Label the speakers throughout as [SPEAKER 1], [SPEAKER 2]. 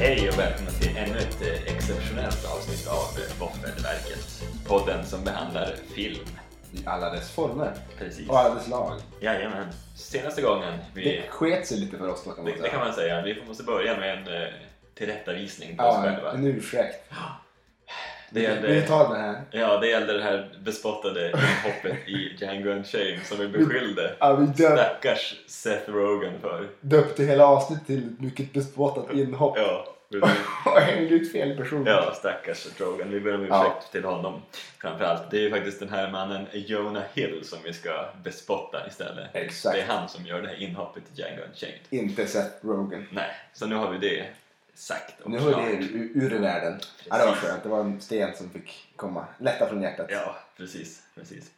[SPEAKER 1] Hej och välkomna till ännu ett eh, exceptionellt avsnitt av eh, Våffelverket. Podden som behandlar film.
[SPEAKER 2] I alla dess former
[SPEAKER 1] Precis.
[SPEAKER 2] och alla dess lag.
[SPEAKER 1] Jajamän. Senaste gången vi...
[SPEAKER 2] Det sket sig lite för oss då kan man
[SPEAKER 1] Det, det kan
[SPEAKER 2] säga.
[SPEAKER 1] man säga. Vi måste börja med en eh, tillrättavisning på oss
[SPEAKER 2] Ja,
[SPEAKER 1] själva.
[SPEAKER 2] en ursäkt.
[SPEAKER 1] Det
[SPEAKER 2] Vi
[SPEAKER 1] gällde,
[SPEAKER 2] tar den här.
[SPEAKER 1] ja, det gällde det här bespottade hoppet i Django Unchained som vi beskyllde
[SPEAKER 2] Ja, vi döp,
[SPEAKER 1] stackars Seth Rogen för.
[SPEAKER 2] döpte hela avsnittet till ett mycket bespottat inhopp
[SPEAKER 1] Ja, vi-
[SPEAKER 2] och hängde ut fel person.
[SPEAKER 1] ja stackars Seth Rogen. Vi ber om ursäkt
[SPEAKER 2] Ja.
[SPEAKER 1] till honom framförallt. Det är ju faktiskt den här mannen Jonah Hill som vi ska bespotta istället. Det är
[SPEAKER 2] Exakt.
[SPEAKER 1] han som gör det här inhoppet i Django Unchained.
[SPEAKER 2] Inte Seth Rogen.
[SPEAKER 1] Nej, så nu har vi det sagt och
[SPEAKER 2] Nu
[SPEAKER 1] klart.
[SPEAKER 2] är det ur, ur världen. Ja, det var skönt. Det var en sten som fick komma. Lätta från hjärtat.
[SPEAKER 1] Ja, precis, precis.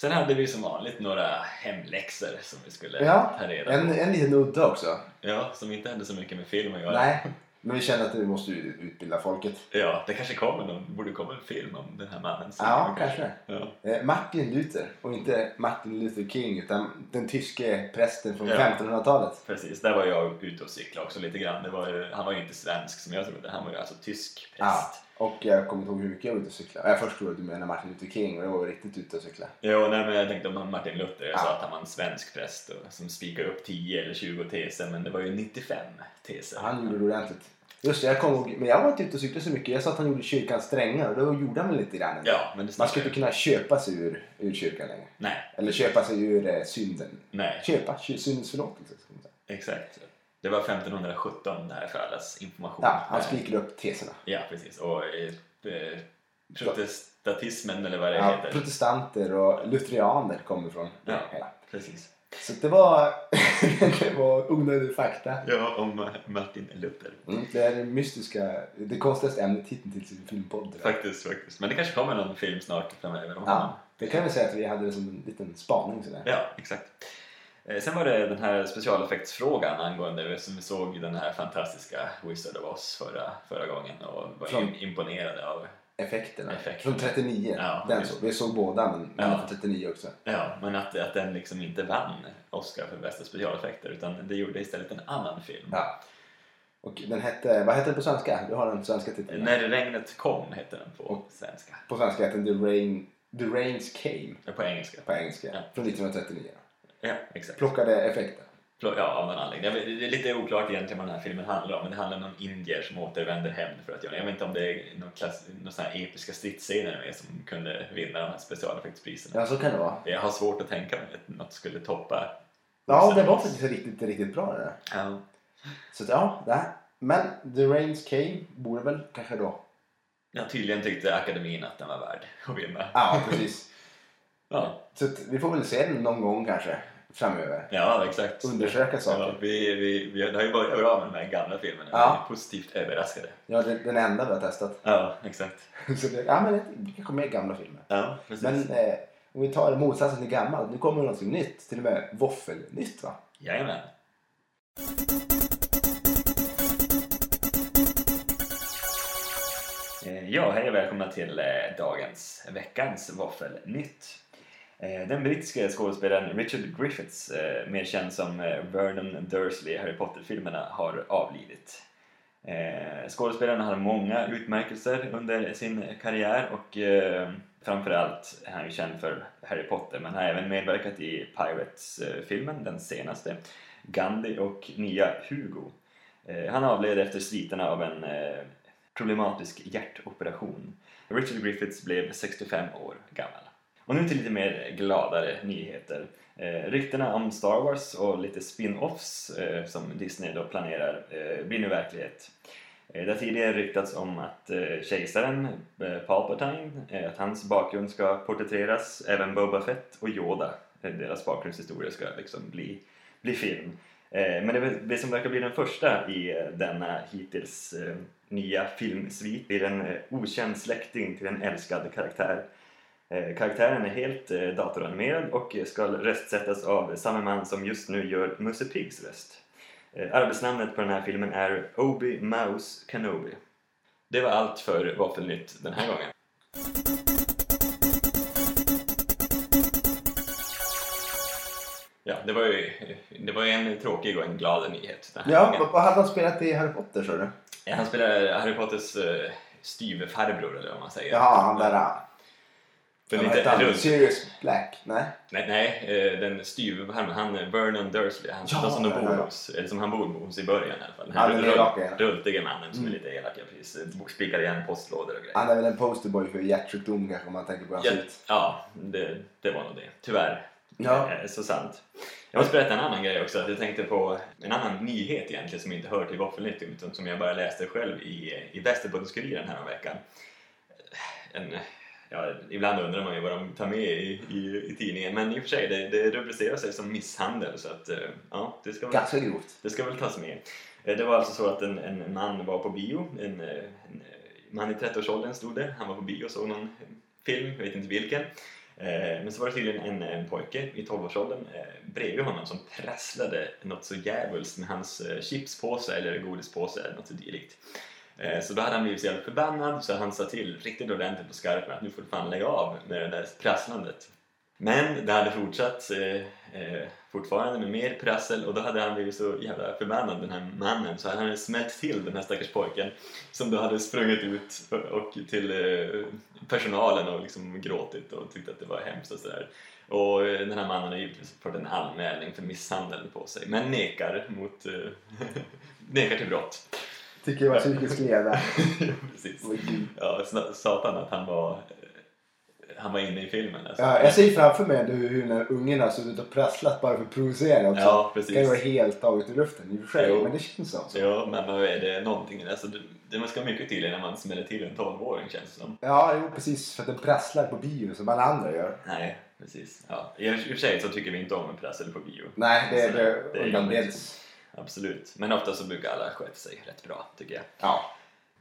[SPEAKER 1] Sen hade vi som vanligt några hemläxor som vi skulle
[SPEAKER 2] Ja,
[SPEAKER 1] ta reda på.
[SPEAKER 2] En, en liten udda också.
[SPEAKER 1] Ja, som inte hade så mycket med film att göra.
[SPEAKER 2] Nej, men vi kände att vi måste ju utbilda folket.
[SPEAKER 1] Ja, det kanske kommer någon, det borde komma en film om den här mannen. sen.
[SPEAKER 2] Ja, kanske.
[SPEAKER 1] Ja,
[SPEAKER 2] Eh, Martin Luther, och inte Martin Luther King utan den tyske prästen från
[SPEAKER 1] Ja.
[SPEAKER 2] 1500-talet.
[SPEAKER 1] precis. Där var jag ute och cyklade också lite grann. Det var ju, han var ju inte svensk som jag trodde. Han var ju alltså tysk
[SPEAKER 2] Ja,
[SPEAKER 1] präst.
[SPEAKER 2] Ah, och jag kommer inte ihåg hur mycket jag var ute och cyklade. Jag först trodde du menade Martin Luther King och jag var riktigt ute och cyklade.
[SPEAKER 1] Jo, nej, men jag tänkte om Martin Luther. Jag sa
[SPEAKER 2] Ja.
[SPEAKER 1] att han var en svensk präst och, som spikade upp 10 eller 20 teser. Men det var ju 95 teser.
[SPEAKER 2] Han gjorde det ordentligt. Just det, jag kommer ihåg, men jag var inte ute och cyklade så mycket. Jag sa att han gjorde kyrkan strängare och då gjorde han väl lite grann. ändå.
[SPEAKER 1] Ja, men det
[SPEAKER 2] Man
[SPEAKER 1] snackar
[SPEAKER 2] ska inte
[SPEAKER 1] jag-
[SPEAKER 2] kunna köpa sig ur, ur kyrkan längre.
[SPEAKER 1] Nej,
[SPEAKER 2] Eller köpa sig ur eh, synden.
[SPEAKER 1] nej,
[SPEAKER 2] Köpa ky- syndens förlåtelse. ska man säga.
[SPEAKER 1] exakt. Det var 1517 det här för allas information.
[SPEAKER 2] Ja, Ah, han
[SPEAKER 1] Nej.
[SPEAKER 2] spikade upp teserna.
[SPEAKER 1] Ja, precis. Och eh, eh, protestatismen eller vad det
[SPEAKER 2] Ja,
[SPEAKER 1] heter.
[SPEAKER 2] protestanter och lutherianer kommer från
[SPEAKER 1] Ja.
[SPEAKER 2] hela.
[SPEAKER 1] Precis.
[SPEAKER 2] Så det var, det var onödig fakta.
[SPEAKER 1] Ja, om eh, Martin Luther.
[SPEAKER 2] Mm. Det är det mystiska, det konstigaste ämnet hittills i en filmpodd.
[SPEAKER 1] Faktiskt, faktiskt. Men det kanske kommer någon film snart framöver om honom.
[SPEAKER 2] Ja, det kan vi säga att vi hade det som en liten spaning sådär.
[SPEAKER 1] Ja, exakt. Eh, Sen var det den här specialeffektsfrågan angående som vi såg i den här fantastiska Wizard of Oz förra, förra gången och var
[SPEAKER 2] Från-
[SPEAKER 1] im- imponerade av.
[SPEAKER 2] Effekterna.
[SPEAKER 1] Effekterna.
[SPEAKER 2] Från 39.
[SPEAKER 1] Ja,
[SPEAKER 2] den
[SPEAKER 1] just.
[SPEAKER 2] så. Vi såg båda men
[SPEAKER 1] Ja.
[SPEAKER 2] ja. från 39 också.
[SPEAKER 1] Ja, men att, att den liksom inte vann Oscar för bästa specialeffekter utan det gjorde istället en annan film.
[SPEAKER 2] Ja. Och den hette, vad hette den på svenska? Du har den svenska
[SPEAKER 1] Eh,
[SPEAKER 2] titeln.
[SPEAKER 1] När regnet kom hette den på svenska.
[SPEAKER 2] På svenska hette den The, Rain, The Rains Came
[SPEAKER 1] Eh, På engelska.
[SPEAKER 2] på engelska.
[SPEAKER 1] Ja.
[SPEAKER 2] Från 1939.
[SPEAKER 1] Ja, exakt.
[SPEAKER 2] Plockade effekter.
[SPEAKER 1] Pl- Ja, av någon anledning. Jag vet- Det är lite oklart egentligen vad den här filmen handlar om. Men det handlar om någon indier som återvänder hem för att göra Jag vet inte om det är någon, klass, någon sån här episka stridsscener med som kunde vinna de här specialeffektspriserna.
[SPEAKER 2] Ja, så kan det vara.
[SPEAKER 1] Jag har svårt att tänka mig att något skulle toppa.
[SPEAKER 2] Ja, det var faktiskt riktigt, riktigt bra det där.
[SPEAKER 1] Ja,
[SPEAKER 2] Så att, ja, det här. Men The Rains Came borde väl kanske då.
[SPEAKER 1] ja, tydligen tyckte akademin att den var värd att vinna.
[SPEAKER 2] Ja, precis.
[SPEAKER 1] Ja,
[SPEAKER 2] Så att vi får väl se den någon gång kanske framöver.
[SPEAKER 1] ja exakt.
[SPEAKER 2] Undersöka
[SPEAKER 1] Ja,
[SPEAKER 2] saker.
[SPEAKER 1] vi, vi, vi, det har ju börjat bra med de här gamla filmerna.
[SPEAKER 2] Ja.
[SPEAKER 1] Vi är positivt överraskade.
[SPEAKER 2] Ja, det, den enda vi har testat.
[SPEAKER 1] Ja, exakt.
[SPEAKER 2] Så det, ja, men det- det kanske mer gamla filmer.
[SPEAKER 1] Ja, precis.
[SPEAKER 2] Men eh, om vi tar motsatsen till gammalt. Nu kommer det någonting nytt. Till och med våffelnytt va?
[SPEAKER 1] Jajamän. Eh, Ja, hej och välkomna till eh, dagens, veckans våffelnytt. Eh, Den brittiske skådespelaren Richard Griffiths, eh, mer känd som eh, Vernon Dursley i Harry Potter-filmerna, har avlidit. Eh, Skådespelaren har många utmärkelser under sin karriär och eh, framförallt är han ju känd för Harry Potter men har även medverkat i Pirates-filmen, den senaste, Gandhi och nya Hugo. Eh, Han avled efter sviterna av en eh, problematisk hjärtoperation. Richard Griffiths blev 65 år gammal. Och nu till lite mer gladare nyheter. Eh, ryktena om Star Wars och lite spin-offs eh, som Disney då planerar eh, blir nu verklighet. Eh, det har tidigare ryktats om att eh, kejsaren eh, Palpatine, eh, att hans bakgrund ska porträtteras, även Boba Fett och Yoda, eh, deras bakgrundshistoria ska liksom bli, bli film. Eh, men det, ver- det som verkar bli den första i eh, denna hittills eh, nya filmsvit blir en eh, okänd släkting till en älskad karaktär Eh, Karaktären är helt eh, datoranimerad och eh, ska röstsättas av samma man som just nu gör Musse Piggs röst. Eh, Arbetsnamnet på den här filmen är Obi Mouse Kenobi. Det var allt för Våffelnytt den här gången. Ja, det var ju, det var ju en tråkig och en glad nyhet. den här
[SPEAKER 2] Ja,
[SPEAKER 1] gången.
[SPEAKER 2] vad- vad hade han spelat i Harry Potter sa du?
[SPEAKER 1] Ja, Han spelar Harry Potters uh, styvfarbror eller vad man säger.
[SPEAKER 2] Jaha, han där... ah,
[SPEAKER 1] Den
[SPEAKER 2] vad
[SPEAKER 1] lite
[SPEAKER 2] hette han?
[SPEAKER 1] runt.
[SPEAKER 2] Sirius Black? Nej.
[SPEAKER 1] Nej, nej eh, den styvfarbrorn, han är Vernon Dursley, han,
[SPEAKER 2] Ja,
[SPEAKER 1] de som de
[SPEAKER 2] ja,
[SPEAKER 1] bor
[SPEAKER 2] ja.
[SPEAKER 1] hos, eller som han bor hos i början i alla fall. Den
[SPEAKER 2] Ja, den
[SPEAKER 1] rull-
[SPEAKER 2] elaka, ja.
[SPEAKER 1] rultiga mannen som
[SPEAKER 2] Mm.
[SPEAKER 1] är lite elak, ja, precis. Spikar igen postlådor och grejer.
[SPEAKER 2] Han är väl en posterboy för hjärtsjukdom kanske om man tänker på hans
[SPEAKER 1] Ja,
[SPEAKER 2] ut.
[SPEAKER 1] ja det, det var nog det. Tyvärr.
[SPEAKER 2] Ja.
[SPEAKER 1] Eh, Så sant. Jag måste berätta en annan grej också. att Jag tänkte på en annan nyhet egentligen som inte hör till Våffelnytt utan som jag bara läste själv i, i Västerbottenskuriren häromveckan. En, ja, ibland undrar man ju vad de tar med i, i, i tidningen men i och för sig, det, det rubricerar sig som misshandel så att eh, ja, det ska, väl,
[SPEAKER 2] Ganska grovt.
[SPEAKER 1] det ska väl tas med. Eh, Det var alltså så att en, en man var på bio, en, eh, en eh, man i 30-årsåldern stod det, han var på bio och såg någon film, jag vet inte vilken. Eh, Men så var det tydligen en, en pojke i 12-årsåldern eh, bredvid honom som prasslade något så djävulskt med hans eh, chipspåse eller godispåse eller något så dylikt. Eh, Så då hade han blivit så jävla förbannad så han sa till riktigt ordentligt på skarpen att nu får du fan lägga av med det där prasslandet. Men det hade fortsatt eh, eh, fortfarande med mer prassel och då hade han blivit så jävla förbannad den här mannen så han hade smält till den här stackars pojken som då hade sprungit ut och- och till eh, personalen och liksom gråtit och tyckte att det var hemskt och sådär. Och eh, den här mannen har givetvis fått en anmälning för misshandel på sig men nekar mot... Eh, nekar till brott.
[SPEAKER 2] Tycker jag var psykisk leda.
[SPEAKER 1] Precis.
[SPEAKER 2] Åh, gud.
[SPEAKER 1] Ja, sna- satan att han var... eh, Han var inne i filmen alltså.
[SPEAKER 2] Ja, jag ser framför mig hur, hur den här ungen har suttit och prasslat bara för att provocera också.
[SPEAKER 1] Ja,
[SPEAKER 2] det kan ju
[SPEAKER 1] precis.
[SPEAKER 2] vara helt taget ur luften i och för sig,
[SPEAKER 1] Jo.
[SPEAKER 2] men det känns så. Också.
[SPEAKER 1] Alltså, Ja, men vad är det någonting? Alltså, det, det ska mycket till innan man smäller till en 12-åring känns det som.
[SPEAKER 2] Ja, jo precis. För att den prasslar på bio som alla andra gör.
[SPEAKER 1] Nej, precis. Ja. I och för sig så tycker vi inte om en prassel på bio.
[SPEAKER 2] Nej, det,
[SPEAKER 1] Så
[SPEAKER 2] det,
[SPEAKER 1] det
[SPEAKER 2] det
[SPEAKER 1] är
[SPEAKER 2] är undanbeds.
[SPEAKER 1] Absolut. Men ofta så brukar alla sköta sig rätt bra, tycker jag.
[SPEAKER 2] Ja.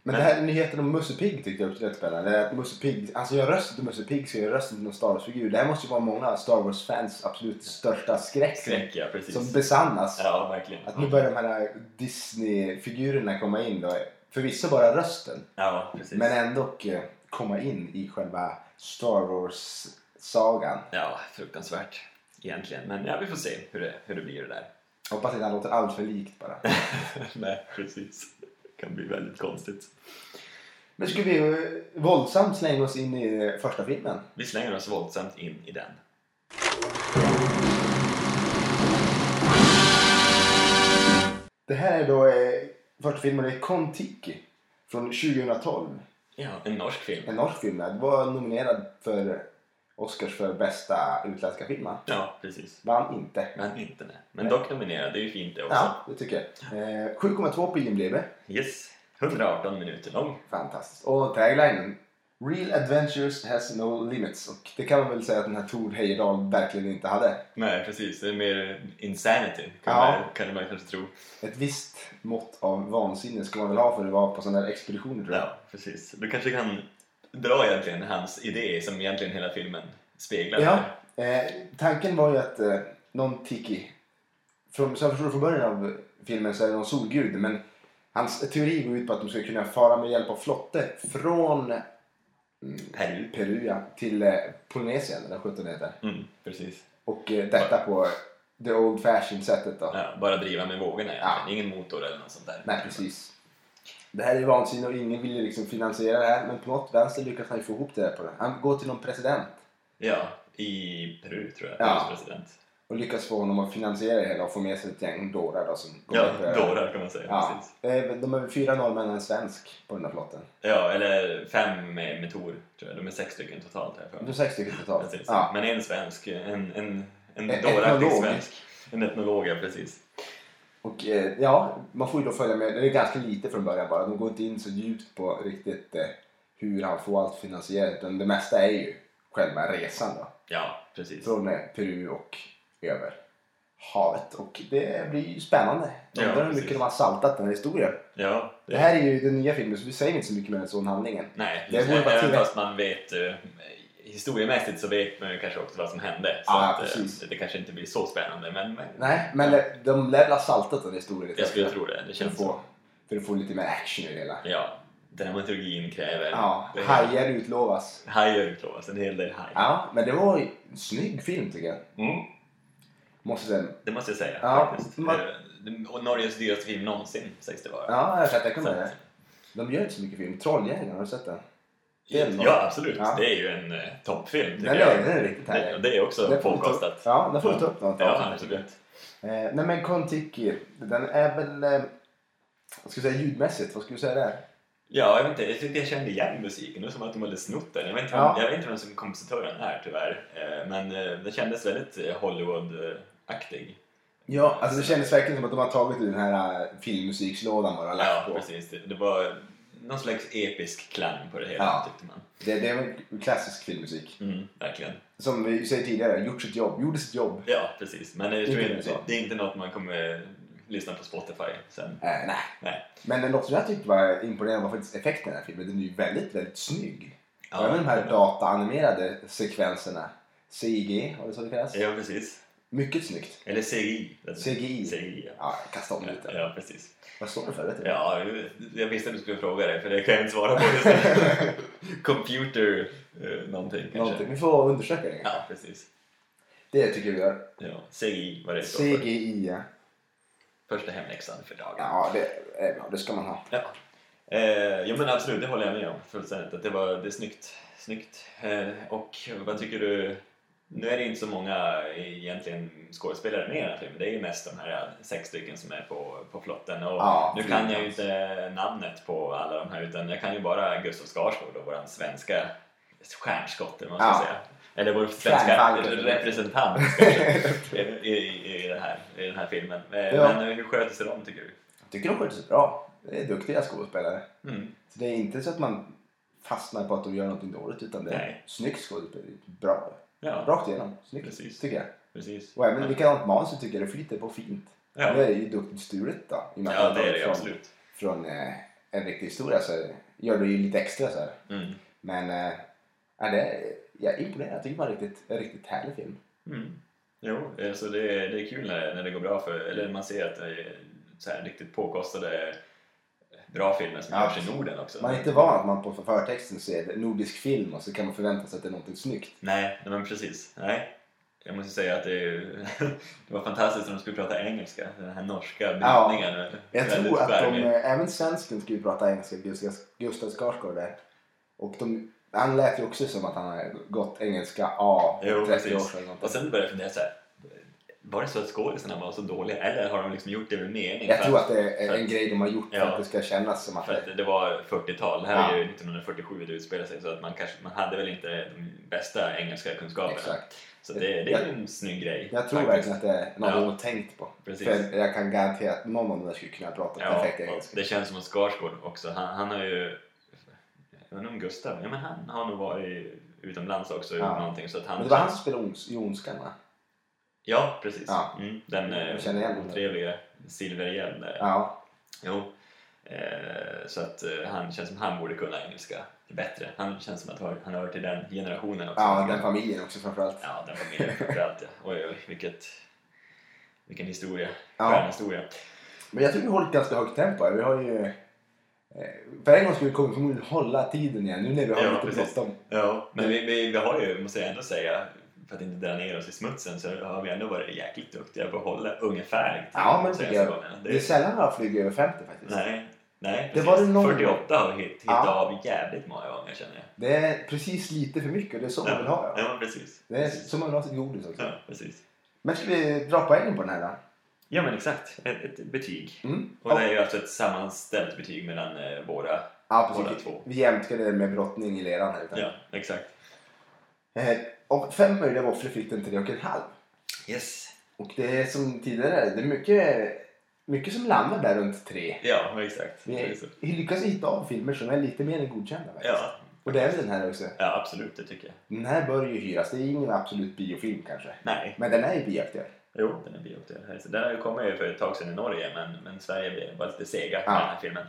[SPEAKER 2] Men, det här nyheten om Musse Pigg tyckte jag också lät spännande. Att Musse Pigg, alltså jag rösten till Musse Pigg så jag rösten till någon Star Wars-figur. Det här måste ju vara många Star Wars-fans absolut största skräck.
[SPEAKER 1] Skräck, ja, precis.
[SPEAKER 2] Som besannas.
[SPEAKER 1] Ja, verkligen.
[SPEAKER 2] Att nu börjar de här Disney-figurerna komma in då. Förvisso bara rösten.
[SPEAKER 1] Ja, precis.
[SPEAKER 2] Men ändå eh, komma in i själva Star Wars-sagan.
[SPEAKER 1] Ja, fruktansvärt. Egentligen. Men ja, vi får se hur det, hur det blir det där.
[SPEAKER 2] Hoppas inte han låter allt för likt bara.
[SPEAKER 1] Nej, precis. Det kan bli väldigt konstigt.
[SPEAKER 2] Men ska vi eh, våldsamt slänga oss in i eh, första filmen?
[SPEAKER 1] Vi slänger oss våldsamt in i den.
[SPEAKER 2] Det här är då eh, första filmen, det är Kon-Tiki från 2012.
[SPEAKER 1] Ja, en norsk film.
[SPEAKER 2] En norsk film. Den var nominerad för Oscars för bästa utländska filmen.
[SPEAKER 1] Ja, precis.
[SPEAKER 2] Vann inte.
[SPEAKER 1] Men inte nej. Men
[SPEAKER 2] Nej.
[SPEAKER 1] dock nominerad, det är ju fint det också.
[SPEAKER 2] Ja, det tycker jag. Eh, 7,2 på IMDB.
[SPEAKER 1] Yes, 118 minuter lång.
[SPEAKER 2] Fantastiskt. Och taglinen. Real adventures has no limits. Och det kan man väl säga att den här Tord Heyerdahl verkligen inte hade.
[SPEAKER 1] Nej, precis. Det är mer insanity, kan,
[SPEAKER 2] Ja.
[SPEAKER 1] man, kan man kanske tro.
[SPEAKER 2] Ett visst mått av vansinne ska man väl ha för att vara på sådana här expeditioner tror jag.
[SPEAKER 1] Ja, precis. Du kanske kan dra egentligen hans idé som egentligen hela filmen speglar.
[SPEAKER 2] Ja. Eh, tanken var ju att eh, någon Tiki, från, så jag förstår det från början av filmen så är det någon solgud men hans teori går ut på att de ska kunna fara med hjälp av flotte från mm,
[SPEAKER 1] Peru.
[SPEAKER 2] Peru ja, till eh, Polynesien eller 17 heter.
[SPEAKER 1] Mm, precis.
[SPEAKER 2] Och eh, detta på the old fashion sättet då.
[SPEAKER 1] Ja, bara driva med vågorna egentligen.
[SPEAKER 2] Ja.
[SPEAKER 1] Ingen motor eller något sånt där.
[SPEAKER 2] Nej precis. Det här är ju vansinne och ingen vill ju liksom finansiera det här men på något vänster lyckas han ju få ihop det där på det. Han går till någon president
[SPEAKER 1] Ja, i Peru tror jag.
[SPEAKER 2] Ja.
[SPEAKER 1] Perus president.
[SPEAKER 2] och lyckas få honom att finansiera det hela och få med sig ett gäng dårar då som går
[SPEAKER 1] Ja,
[SPEAKER 2] med på det här.
[SPEAKER 1] dårar kan man säga. Ja.
[SPEAKER 2] Ja,
[SPEAKER 1] Precis.
[SPEAKER 2] eh, de är fyra norrmän och en svensk på den här flotten.
[SPEAKER 1] ja, eller fem med, med Tor, tror jag. De är sex stycken totalt här för
[SPEAKER 2] De är sex stycken totalt.
[SPEAKER 1] Precis.
[SPEAKER 2] Ja.
[SPEAKER 1] Men en svensk, en, en, en
[SPEAKER 2] E-
[SPEAKER 1] dåraktig
[SPEAKER 2] etnolog.
[SPEAKER 1] svensk. En etnolog, ja precis.
[SPEAKER 2] Och eh, ja, man får ju då följa med. Det är ganska lite från början bara. De går inte in så djupt på riktigt eh, hur han får allt finansierat. Utan det mesta är ju själva resan då.
[SPEAKER 1] Ja, precis.
[SPEAKER 2] Från eh, Peru och över havet. Och det blir ju spännande. Jag
[SPEAKER 1] Ja,
[SPEAKER 2] Undrar hur
[SPEAKER 1] precis.
[SPEAKER 2] mycket de har saltat den här historien.
[SPEAKER 1] Ja,
[SPEAKER 2] Det här är ju den nya filmen så vi säger inte så mycket mer än så om handlingen.
[SPEAKER 1] Nej,
[SPEAKER 2] Det
[SPEAKER 1] just
[SPEAKER 2] vore bara
[SPEAKER 1] även
[SPEAKER 2] tillräck-
[SPEAKER 1] fast man vet eh, historiemässigt så vet man ju kanske också vad som hände. Så
[SPEAKER 2] Ja,
[SPEAKER 1] att, eh,
[SPEAKER 2] precis.
[SPEAKER 1] det kanske inte blir så spännande men, men
[SPEAKER 2] Nej, men eh, de lär väl ha saltat den historien lite.
[SPEAKER 1] jag skulle tro det. Det
[SPEAKER 2] för, att
[SPEAKER 1] känns så.
[SPEAKER 2] få, för att få lite mer action i det hela.
[SPEAKER 1] Ja, dramaturgin kräver...
[SPEAKER 2] Ja,
[SPEAKER 1] det-
[SPEAKER 2] hajar utlovas.
[SPEAKER 1] Hajar utlovas, en hel del haj.
[SPEAKER 2] Ja, men det var ju en snygg film tycker jag.
[SPEAKER 1] Mm.
[SPEAKER 2] Måste säga.
[SPEAKER 1] Det måste jag säga
[SPEAKER 2] Ja,
[SPEAKER 1] faktiskt.
[SPEAKER 2] man-
[SPEAKER 1] Eh, Och Norges dyraste film någonsin sägs det vara.
[SPEAKER 2] Ja, jag har sett det.
[SPEAKER 1] Så
[SPEAKER 2] Kommer
[SPEAKER 1] att-
[SPEAKER 2] det. De gör inte så mycket film. Trolljägarna, har du sett den? Det är en-
[SPEAKER 1] ja, absolut.
[SPEAKER 2] Ja.
[SPEAKER 1] Det är ju en eh, toppfilm tycker
[SPEAKER 2] Den är,
[SPEAKER 1] jag.
[SPEAKER 2] den är riktigt
[SPEAKER 1] Det,
[SPEAKER 2] härlig.
[SPEAKER 1] det är också
[SPEAKER 2] får vi ta-
[SPEAKER 1] påkostat.
[SPEAKER 2] Ja, den får vi ta upp något
[SPEAKER 1] Ja,
[SPEAKER 2] avsnitt.
[SPEAKER 1] absolut.
[SPEAKER 2] Eh, nej men Kon-Tiki, den är väl... Eh, vad ska vi säga ljudmässigt? Vad ska vi säga där?
[SPEAKER 1] Ja, jag vet inte. Jag tyckte jag kände igen musiken. Det var som att de hade snott den. Jag vet inte, vem,
[SPEAKER 2] Ja.
[SPEAKER 1] jag vet inte vem som kompositören är tyvärr. Eh, Men eh, den kändes väldigt eh, Hollywood-aktig.
[SPEAKER 2] Ja, alltså det kändes verkligen som att de har tagit ur den här eh, filmmusikslådan bara och lagt
[SPEAKER 1] Ja,
[SPEAKER 2] på.
[SPEAKER 1] precis. Det, det var någon slags episk klang på det hela
[SPEAKER 2] Ja.
[SPEAKER 1] tyckte man.
[SPEAKER 2] Det, det är väl klassisk filmmusik.
[SPEAKER 1] Mm, verkligen.
[SPEAKER 2] Som vi säger tidigare, gjort sitt jobb, gjorde sitt jobb.
[SPEAKER 1] Ja, precis. Men eh, jag tror
[SPEAKER 2] Inte
[SPEAKER 1] inte,
[SPEAKER 2] så.
[SPEAKER 1] det är inte något man kommer eh, lyssna på Spotify sen.
[SPEAKER 2] Eh, nej.
[SPEAKER 1] Nej.
[SPEAKER 2] Men något som jag tyckte var imponerande var faktiskt effekten i den här filmen. Den är ju väldigt, väldigt snygg.
[SPEAKER 1] Ja,
[SPEAKER 2] Även de här dataanimerade sekvenserna. CG, har det så det kallas?
[SPEAKER 1] Ja, precis.
[SPEAKER 2] Mycket snyggt.
[SPEAKER 1] Eller CGI.
[SPEAKER 2] CGI.
[SPEAKER 1] CGI, ja.
[SPEAKER 2] Ja, kasta om lite.
[SPEAKER 1] Ja, precis.
[SPEAKER 2] Vad står det för? Vet du?
[SPEAKER 1] Ja, jag visste att du skulle fråga det, för det kan jag inte svara på just nu. Computer eh, någonting kanske.
[SPEAKER 2] Någonting. Vi får undersöka det.
[SPEAKER 1] Ja, precis.
[SPEAKER 2] Det tycker jag vi gör.
[SPEAKER 1] Ja, CGI, vad det står för.
[SPEAKER 2] CGI, ja.
[SPEAKER 1] Första hemläxan för dagen.
[SPEAKER 2] Ja, det är bra. Det ska man ha.
[SPEAKER 1] Ja. Eh, ja men absolut, det håller jag med om fullständigt. Att det var det är snyggt. snyggt. Eh, och vad tycker du? Nu är det inte så många egentligen skådespelare med i den här filmen. Det är ju mest de här sex stycken som är på, på flotten. Och
[SPEAKER 2] Ja,
[SPEAKER 1] nu kan
[SPEAKER 2] fint,
[SPEAKER 1] jag ju inte namnet på alla de här utan jag kan ju bara Gustav Skarsgård och våran svenska stjärnskott eller vad man ska
[SPEAKER 2] Ja.
[SPEAKER 1] säga. Eller vår svenska
[SPEAKER 2] Stjärnfalken.
[SPEAKER 1] representant kanske, i, i, i, det här, i den här filmen. Eh,
[SPEAKER 2] Ja.
[SPEAKER 1] Men hur sköter sig de tycker
[SPEAKER 2] Jag tycker de sköter sig bra. Det är duktiga skådespelare.
[SPEAKER 1] du? Mm.
[SPEAKER 2] Så det är inte så att man fastnar på att de gör någonting dåligt utan det är
[SPEAKER 1] Nej.
[SPEAKER 2] snyggt skådespeleri. Bra.
[SPEAKER 1] Ja.
[SPEAKER 2] Rakt igenom. Snyggt,
[SPEAKER 1] Precis.
[SPEAKER 2] tycker jag.
[SPEAKER 1] Precis.
[SPEAKER 2] Och även likadant manus så tycker jag det flyter på fint.
[SPEAKER 1] Ja.
[SPEAKER 2] Nu är det ju duktigt stulet då. I och med att
[SPEAKER 1] Ja,
[SPEAKER 2] man
[SPEAKER 1] det är
[SPEAKER 2] tagit
[SPEAKER 1] det
[SPEAKER 2] från,
[SPEAKER 1] absolut.
[SPEAKER 2] Från eh, en riktig historia så gör det ju lite extra så här.
[SPEAKER 1] Mm.
[SPEAKER 2] Men eh, ja, det är, jag är imponerad. Jag tycker det var en riktigt, en riktigt härlig film.
[SPEAKER 1] Mm. Jo, eh, så det, är- det är kul när, när det går bra för, eller man ser att det är så här riktigt påkostade bra filmer som
[SPEAKER 2] Ja,
[SPEAKER 1] görs i Norden också.
[SPEAKER 2] Man är inte van att man på förtexten ser nordisk film och så kan man förvänta sig att det är någonting snyggt.
[SPEAKER 1] Nej, nej, men precis. Nej. Jag måste säga att det, är ju- det var fantastiskt när de skulle prata engelska, den här norska
[SPEAKER 2] Ja.
[SPEAKER 1] brytningen. är
[SPEAKER 2] Jag
[SPEAKER 1] väldigt
[SPEAKER 2] tror att de,
[SPEAKER 1] skärmig.
[SPEAKER 2] eh, även svensken skulle ju prata engelska, Gustav, Gustav Skarsgård där. Och de, han lät ju också som att han hade gått engelska A
[SPEAKER 1] Jo,
[SPEAKER 2] för 30 år
[SPEAKER 1] precis.
[SPEAKER 2] sedan. eller någonting.
[SPEAKER 1] Och sen började jag fundera så här. var det så att skådisarna var så dåliga eller har de liksom gjort det med mening?
[SPEAKER 2] Jag
[SPEAKER 1] för
[SPEAKER 2] tror att det
[SPEAKER 1] för
[SPEAKER 2] är en
[SPEAKER 1] att-
[SPEAKER 2] grej de har gjort för
[SPEAKER 1] Ja.
[SPEAKER 2] att det ska kännas som att
[SPEAKER 1] För
[SPEAKER 2] det...
[SPEAKER 1] att det var 40-tal, här är
[SPEAKER 2] Ja.
[SPEAKER 1] ju 1947 det utspelar sig så att man, kanske, man hade väl inte de bästa engelska kunskaperna.
[SPEAKER 2] Exakt.
[SPEAKER 1] Så det, det är ju en snygg grej.
[SPEAKER 2] Jag tror
[SPEAKER 1] faktiskt.
[SPEAKER 2] verkligen att det är något
[SPEAKER 1] Ja.
[SPEAKER 2] de har tänkt på.
[SPEAKER 1] Precis.
[SPEAKER 2] För jag kan garantera att någon av dem där skulle kunna prata perfekt
[SPEAKER 1] Ja, och
[SPEAKER 2] engelska.
[SPEAKER 1] det känns som att Skarsgård också, han, han har ju... Jag vet inte om Gustav, ja, men han har nog varit utomlands också och gjort
[SPEAKER 2] Ja.
[SPEAKER 1] någonting så att han...
[SPEAKER 2] Men det var han som spelade ons- i Ondskan va?
[SPEAKER 1] Ja, precis.
[SPEAKER 2] Ja.
[SPEAKER 1] Mm, den
[SPEAKER 2] Jag känner igen honom.
[SPEAKER 1] eh, otrevliga silverhjälmen där.
[SPEAKER 2] Ja.
[SPEAKER 1] Jo. Eh, så att eh, han känns som han borde kunna engelska bättre. Han känns som att hör- han hör till den generationen också.
[SPEAKER 2] ja, den familjen också framförallt.
[SPEAKER 1] Ja, den familjen framförallt ja. Oj, oj, vilket, vilken historia.
[SPEAKER 2] Ja.
[SPEAKER 1] Stjärnhistoria.
[SPEAKER 2] Men jag tror vi har hållit ganska högt tempo här. Vi har ju... eh, För en gång skulle vi kommer förmodligen hålla tiden igen nu när vi har
[SPEAKER 1] Ja,
[SPEAKER 2] lite
[SPEAKER 1] precis.
[SPEAKER 2] bråttom.
[SPEAKER 1] Ja, men vi, vi, vi har ju, måste jag ändå säga, för att inte dra ner oss i smutsen så har vi ändå varit jäkligt duktiga på att hålla ungefär
[SPEAKER 2] Ja, men
[SPEAKER 1] det
[SPEAKER 2] tycker jag. Det är
[SPEAKER 1] Det,
[SPEAKER 2] sällan några flyger över 50 faktiskt.
[SPEAKER 1] nej, nej
[SPEAKER 2] Det
[SPEAKER 1] precis.
[SPEAKER 2] var det någon-
[SPEAKER 1] 48 har vi hitt- hittat
[SPEAKER 2] Ja.
[SPEAKER 1] av jävligt många gånger känner jag.
[SPEAKER 2] Det är precis lite för mycket och det är så man vill ha det.
[SPEAKER 1] ja, men precis.
[SPEAKER 2] Det är
[SPEAKER 1] Precis.
[SPEAKER 2] så man vill ha sitt godis också.
[SPEAKER 1] Ja, precis.
[SPEAKER 2] Men ska vi dra poängen på den här då?
[SPEAKER 1] Ja, men exakt. Ett, ett betyg.
[SPEAKER 2] Mm.
[SPEAKER 1] Och det är ju alltså ett sammanställt betyg mellan eh, våra...
[SPEAKER 2] Ja,
[SPEAKER 1] Båda
[SPEAKER 2] precis.
[SPEAKER 1] två.
[SPEAKER 2] Vi jämkade det med brottning i leran här. utan-
[SPEAKER 1] Ja, exakt.
[SPEAKER 2] Eh, Och fem möjliga våfflor fick den tre och en halv.
[SPEAKER 1] Yes.
[SPEAKER 2] Och det är som tidigare, det är mycket, mycket som landar där runt tre.
[SPEAKER 1] Ja, exakt. Det är
[SPEAKER 2] Vi
[SPEAKER 1] så.
[SPEAKER 2] vi lyckas hitta av filmer som är lite mer än godkända faktiskt.
[SPEAKER 1] Ja,
[SPEAKER 2] Och det är väl den här också.
[SPEAKER 1] ja, absolut, det tycker jag.
[SPEAKER 2] Den här bör ju hyras. Det är ingen absolut biofilm kanske.
[SPEAKER 1] Nej,
[SPEAKER 2] Men den är ju bioaktuell.
[SPEAKER 1] jo, den är bioaktuell. här. Så Den har ju kommit ju för ett tag sedan i Norge, men, men Sverige blev bara lite sega med
[SPEAKER 2] Ja.
[SPEAKER 1] den här filmen.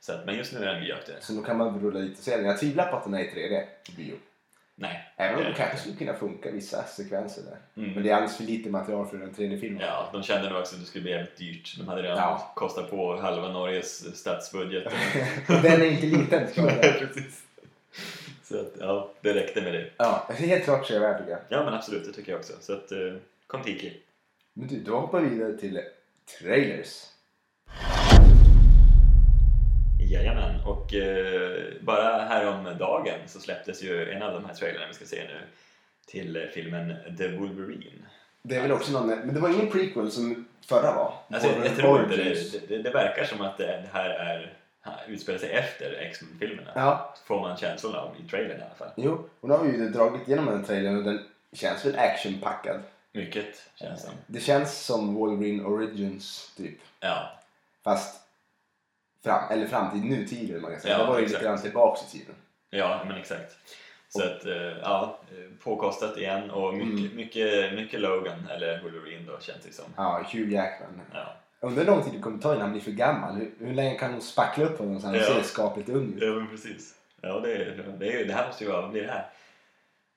[SPEAKER 1] Så att, men just nu är den bioaktuell.
[SPEAKER 2] Så då kan man rulla dit och se den. Jag tvivlar på att den är i 3D på bio.
[SPEAKER 1] Nej.
[SPEAKER 2] Även om
[SPEAKER 1] det-
[SPEAKER 2] det kanske skulle kunna funka i vissa sekvenser där.
[SPEAKER 1] Mm.
[SPEAKER 2] Men det är alldeles för lite material för en 3D-film.
[SPEAKER 1] Ja, de kände nog också att det skulle bli jävligt dyrt. De hade redan
[SPEAKER 2] Ja.
[SPEAKER 1] kostat på halva Norges eh, statsbudget.
[SPEAKER 2] Och den är inte liten. ska man säga.
[SPEAKER 1] Precis. Så att, ja, det räckte med det.
[SPEAKER 2] ja, helt klart sevärd tycker jag.
[SPEAKER 1] Ja, men absolut, det tycker jag också. Så att, eh, kom Tiki.
[SPEAKER 2] Men du, då hoppar vi vidare till trailers.
[SPEAKER 1] Jajamän, och eh, bara häromdagen så släpptes ju en av de här trailerna vi ska se nu till eh, filmen The Wolverine.
[SPEAKER 2] Det är väl också någon, men det var ingen prequel som förra var?
[SPEAKER 1] Alltså, jag, jag
[SPEAKER 2] Origins.
[SPEAKER 1] tror inte det, det, det verkar som att det, det här är, utspelar sig efter X-Men-filmerna.
[SPEAKER 2] Ja,
[SPEAKER 1] Får man känslan av i trailern i alla fall.
[SPEAKER 2] jo. Och nu har vi ju dragit igenom den trailern och den känns väl actionpackad.
[SPEAKER 1] Mycket känns som.
[SPEAKER 2] Det känns som Wolverine Origins typ.
[SPEAKER 1] Ja,
[SPEAKER 2] Fast fram, eller framtid, nutid eller man kan säga.
[SPEAKER 1] Ja,
[SPEAKER 2] det var ju lite
[SPEAKER 1] exakt.
[SPEAKER 2] grann tillbaks i tiden.
[SPEAKER 1] ja men exakt. Så att, eh, ja, eh, påkostat igen och mycket,
[SPEAKER 2] Mm.
[SPEAKER 1] mycket, mycket Logan, eller Wolverine då känns det som.
[SPEAKER 2] Ja, Hugh Jackman.
[SPEAKER 1] Ja.
[SPEAKER 2] Jag undrar hur lång tid det kommer ta innan han blir för gammal. Hur, hur länge kan hon spackla upp honom så han
[SPEAKER 1] Ja.
[SPEAKER 2] ser skapligt ung ut?
[SPEAKER 1] Ja, men precis. Ja, det, är- det, är- det här måste ju vara, vad blir det här?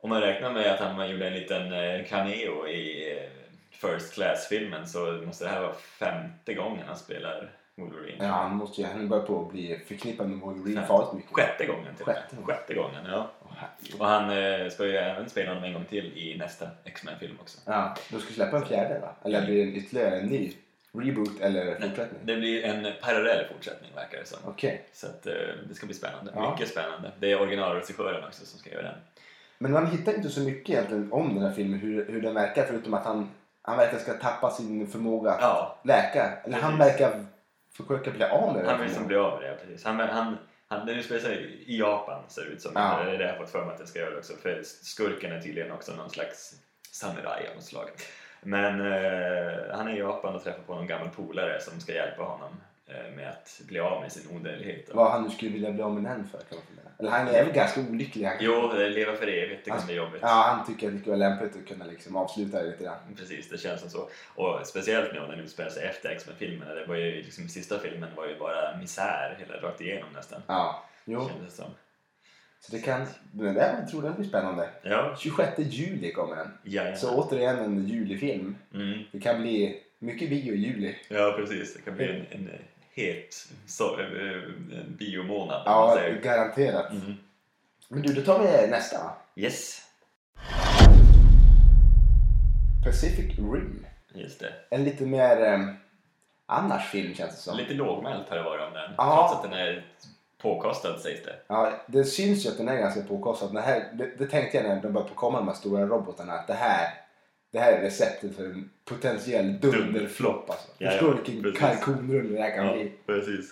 [SPEAKER 1] Om man räknar med att han gjorde en liten eh, cameo i eh, First Class-filmen så måste det här vara femte gången han spelar Wolverine.
[SPEAKER 2] Ja, han måste ju, han börjar på att bli förknippad med Wolverine
[SPEAKER 1] Ja.
[SPEAKER 2] farligt mycket.
[SPEAKER 1] Sjätte gången till och med.
[SPEAKER 2] Sjätte gången.
[SPEAKER 1] Sjätte gången, ja.
[SPEAKER 2] Åh, herregud.
[SPEAKER 1] Och han eh, ska ju även spela honom en gång till i nästa X-Men-film också.
[SPEAKER 2] Ja, de ska släppa en fjärde va? Eller blir det en ytterligare en ny reboot eller fortsättning?
[SPEAKER 1] Det blir en parallell fortsättning verkar det som.
[SPEAKER 2] Okej.
[SPEAKER 1] Så att, eh, det ska bli spännande.
[SPEAKER 2] Ja.
[SPEAKER 1] Mycket spännande. Det är originalregissören också som ska göra den.
[SPEAKER 2] Men man hittar inte så mycket egentligen om den här filmen, hur, hur den verkar, förutom att han, han verkar ska tappa sin förmåga att
[SPEAKER 1] Ja,
[SPEAKER 2] läka. Eller han
[SPEAKER 1] Precis.
[SPEAKER 2] verkar försöka bli av med den.
[SPEAKER 1] Han
[SPEAKER 2] här
[SPEAKER 1] vill liksom
[SPEAKER 2] förmågan.
[SPEAKER 1] bli av med det, ja, precis. Han, han, han, den utspelar sig i Japan ser det ut som.
[SPEAKER 2] Ja.
[SPEAKER 1] Det är det jag fått för mig att den ska göra också. För skurken är tydligen också någon slags samuraj av något slag. Men eh, han är i Japan och träffar på någon gammal polare som ska hjälpa honom eh, med att bli av med sin odödlighet. Och-
[SPEAKER 2] Vad han nu skulle vilja bli av med den för kan man fundera. Eller han är väl ganska olycklig. Han,
[SPEAKER 1] Jo, eh, leva för evigt, det kan
[SPEAKER 2] Alltså,
[SPEAKER 1] bli jobbigt.
[SPEAKER 2] Ja, han tycker att det skulle vara lämpligt att kunna liksom avsluta det lite grann.
[SPEAKER 1] Precis, det känns som så. Och speciellt nu om den utspelar sig efter X-Men-filmerna. Det var ju liksom, sista filmen var ju bara misär hela rakt igenom nästan.
[SPEAKER 2] Ja, jo.
[SPEAKER 1] Kändes det som.
[SPEAKER 2] Så det kan... Men det, jag tror den blir spännande.
[SPEAKER 1] Ja,
[SPEAKER 2] 26 juli kommer den.
[SPEAKER 1] ja,
[SPEAKER 2] Så återigen en julifilm.
[SPEAKER 1] Mm.
[SPEAKER 2] Det kan bli mycket bio i juli.
[SPEAKER 1] Ja, precis. Det kan bli en, en het so- eh, en biomånad. om man
[SPEAKER 2] Ja,
[SPEAKER 1] säger.
[SPEAKER 2] garanterat.
[SPEAKER 1] Mm.
[SPEAKER 2] Men du, då tar vi nästa. va?
[SPEAKER 1] Yes,
[SPEAKER 2] Pacific Rim.
[SPEAKER 1] just det.
[SPEAKER 2] En lite mer eh, annars film känns det som.
[SPEAKER 1] Lite lågmält har det varit om den.
[SPEAKER 2] Ja.
[SPEAKER 1] Trots att den är påkostad sägs det.
[SPEAKER 2] Ja, det syns ju att den är ganska påkostad. Det, här, det, det tänkte jag när de började komma de här stora robotarna. Att det här, det här är receptet för en potentiell dunderflopp. Alltså.
[SPEAKER 1] Ja, ja,
[SPEAKER 2] Förstår du vilken
[SPEAKER 1] precis.
[SPEAKER 2] kalkonrulle det här kan bli?
[SPEAKER 1] precis.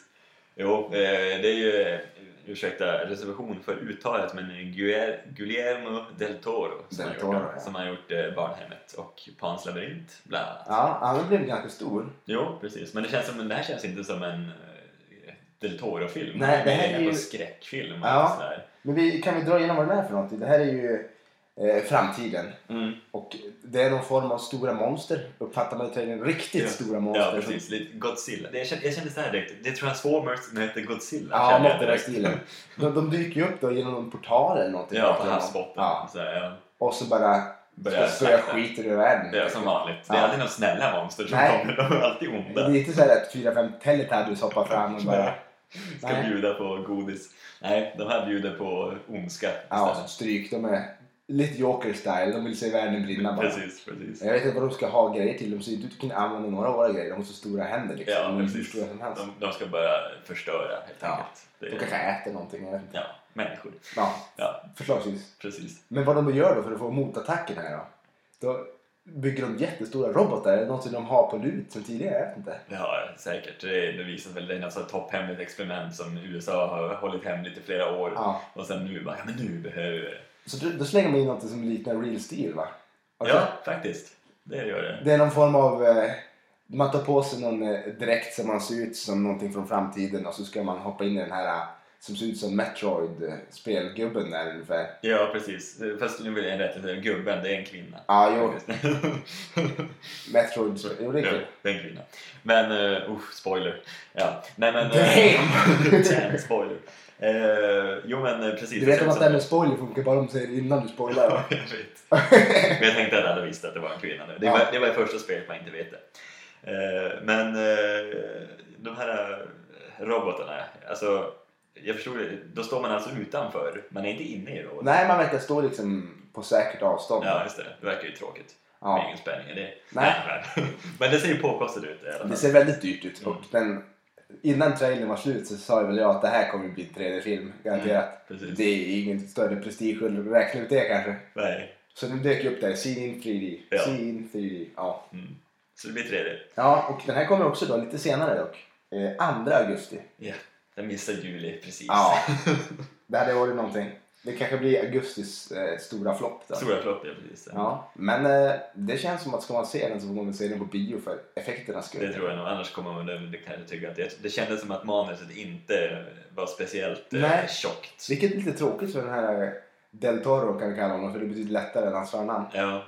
[SPEAKER 1] Jo, eh, det är ju, eh, ursäkta reservation för uttalet, men Guer- Guillermo del Toro som,
[SPEAKER 2] Del
[SPEAKER 1] har, gjort,
[SPEAKER 2] Toro,
[SPEAKER 1] den,
[SPEAKER 2] ja.
[SPEAKER 1] som har gjort eh, Barnhemmet och Pans labyrint bland annat.
[SPEAKER 2] Ja, ja, den blev ganska stor.
[SPEAKER 1] Jo, precis. Men det, känns som, det här känns inte som en eh, del Toro-film.
[SPEAKER 2] Nej, det här
[SPEAKER 1] mer
[SPEAKER 2] är ju-
[SPEAKER 1] en skräckfilm.
[SPEAKER 2] Ja.
[SPEAKER 1] Och sådär.
[SPEAKER 2] Men vi, kan vi dra igenom vad den är för någonting? Det här är ju eh, framtiden.
[SPEAKER 1] Mm.
[SPEAKER 2] Och det är någon form av stora monster. Uppfattar man i trailern. Riktigt
[SPEAKER 1] Ja.
[SPEAKER 2] stora
[SPEAKER 1] Ja,
[SPEAKER 2] monster. som-
[SPEAKER 1] precis. Lite Godzilla. Det, jag, kände, jag kände så här direkt. Det är Transformers möter Godzilla.
[SPEAKER 2] Ja,
[SPEAKER 1] kände jag
[SPEAKER 2] något i den
[SPEAKER 1] direkt.
[SPEAKER 2] stilen. De, de dyker ju upp då genom någon portal eller någonting.
[SPEAKER 1] Ja, på
[SPEAKER 2] Verkligen.
[SPEAKER 1] havsbotten.
[SPEAKER 2] Ja.
[SPEAKER 1] Så här, ja.
[SPEAKER 2] Och så bara
[SPEAKER 1] Börjar
[SPEAKER 2] ska spöa
[SPEAKER 1] slakta.
[SPEAKER 2] skiten ur världen.
[SPEAKER 1] Det är som vanligt. Det är
[SPEAKER 2] Ja.
[SPEAKER 1] aldrig några snälla monster som
[SPEAKER 2] Nej.
[SPEAKER 1] kommer. De är alltid
[SPEAKER 2] Det är
[SPEAKER 1] onda.
[SPEAKER 2] inte så här att fyra, fem Teletubbies hoppar fram och bara...
[SPEAKER 1] Ska
[SPEAKER 2] Nej.
[SPEAKER 1] bjuda på godis. Nej, de här bjuder på ondska
[SPEAKER 2] Ja,
[SPEAKER 1] istället.
[SPEAKER 2] stryk. De är lite Joker-style. De vill se världen brinna bara.
[SPEAKER 1] precis, precis.
[SPEAKER 2] Jag vet inte vad de ska ha grejer till. De ser inte ut att kunna använda några av våra grejer. De har så stora händer liksom.
[SPEAKER 1] Ja,
[SPEAKER 2] de är hur
[SPEAKER 1] precis.
[SPEAKER 2] stora som helst.
[SPEAKER 1] De, de ska börja förstöra helt
[SPEAKER 2] Ja.
[SPEAKER 1] enkelt. Det
[SPEAKER 2] De
[SPEAKER 1] är,
[SPEAKER 2] kanske äter någonting. Jag vet inte.
[SPEAKER 1] ja, människor.
[SPEAKER 2] Ja,
[SPEAKER 1] Ja.
[SPEAKER 2] förslagsvis.
[SPEAKER 1] Precis.
[SPEAKER 2] Men vad de gör då för att få motattacken här då? Då bygger de jättestora robotar. Är det någonting de har på lut sen tidigare? Jag vet inte.
[SPEAKER 1] Ja, säkert. Det, det visas väl. Det är något sånt topphemligt experiment som USA har hållit hemligt i flera år.
[SPEAKER 2] Ja.
[SPEAKER 1] Och sen nu bara, ja men nu behöver vi det.
[SPEAKER 2] Så då, då slänger man in något som liknar Real Steel va? Har du
[SPEAKER 1] Ja, faktiskt. Det gör det.
[SPEAKER 2] Det är någon form av... Eh, man tar på sig någon eh, dräkt som man ser ut som någonting från framtiden och så ska man hoppa in i den här eh, som ser ut som Metroid-spelgubben där ungefär.
[SPEAKER 1] Ja, precis. Fast nu vill jag rätta Gubben, det är en kvinna.
[SPEAKER 2] Ja, jo.
[SPEAKER 1] Faktiskt.
[SPEAKER 2] Metroid... Jo, det är
[SPEAKER 1] Ja,
[SPEAKER 2] kul.
[SPEAKER 1] det är en kvinna. Men, uh, usch, spoiler. Ja. Nej men... eh,
[SPEAKER 2] Damn!
[SPEAKER 1] Damn, spoiler. Eh, jo men eh, precis.
[SPEAKER 2] Du vet
[SPEAKER 1] Det
[SPEAKER 2] om
[SPEAKER 1] känns
[SPEAKER 2] att det här
[SPEAKER 1] som-
[SPEAKER 2] med spoiler funkar bara om du säger innan du spoilar.
[SPEAKER 1] Ja,
[SPEAKER 2] va?
[SPEAKER 1] jag vet. Men jag tänkte att alla visste att det var en kvinna nu. Det
[SPEAKER 2] Ja.
[SPEAKER 1] var, det var det första spelet man inte vet det. Eh, Men eh, de här eh, robotarna, alltså jag förstod det. Då står man alltså utanför, man är inte inne i roboten.
[SPEAKER 2] Nej, man verkar stå liksom på säkert avstånd.
[SPEAKER 1] Ja, just det. Det verkar ju tråkigt. med
[SPEAKER 2] Ja.
[SPEAKER 1] egen spänning. Det,
[SPEAKER 2] Nej.
[SPEAKER 1] nej. Men det ser ju påkostat ut i alla
[SPEAKER 2] Det
[SPEAKER 1] fall.
[SPEAKER 2] ser väldigt dyrt ut.
[SPEAKER 1] Mm.
[SPEAKER 2] Och den, innan trailern var slut så sa väl jag att det här kommer bli en 3D-film. Garanterat.
[SPEAKER 1] Mm, precis.
[SPEAKER 2] det är ingen större prestige att räkna ut det kanske.
[SPEAKER 1] Nej.
[SPEAKER 2] Så den dök ju upp där. Seen in 3D.
[SPEAKER 1] Ja.
[SPEAKER 2] Seen in 3D. Ja.
[SPEAKER 1] Mm. Så det blir 3D.
[SPEAKER 2] ja, och den här kommer också då lite senare dock. Eh, 2 augusti.
[SPEAKER 1] Ja, den missar juli precis.
[SPEAKER 2] Ja. Det hade varit någonting. Det kanske blir augustis eh, stora flopp då.
[SPEAKER 1] Stora flopp, ja precis.
[SPEAKER 2] Ja, men eh, det känns som att ska man se den så får man se den på bio för effekternas skull.
[SPEAKER 1] Det tror jag nog, annars kommer man det kanske tycka att det, det kändes som att manuset inte var speciellt eh,
[SPEAKER 2] Nej.
[SPEAKER 1] tjockt.
[SPEAKER 2] Vilket är lite tråkigt för den här Del Toro kan vi kalla honom för det betyder lättare än hans förnamn.
[SPEAKER 1] Ja,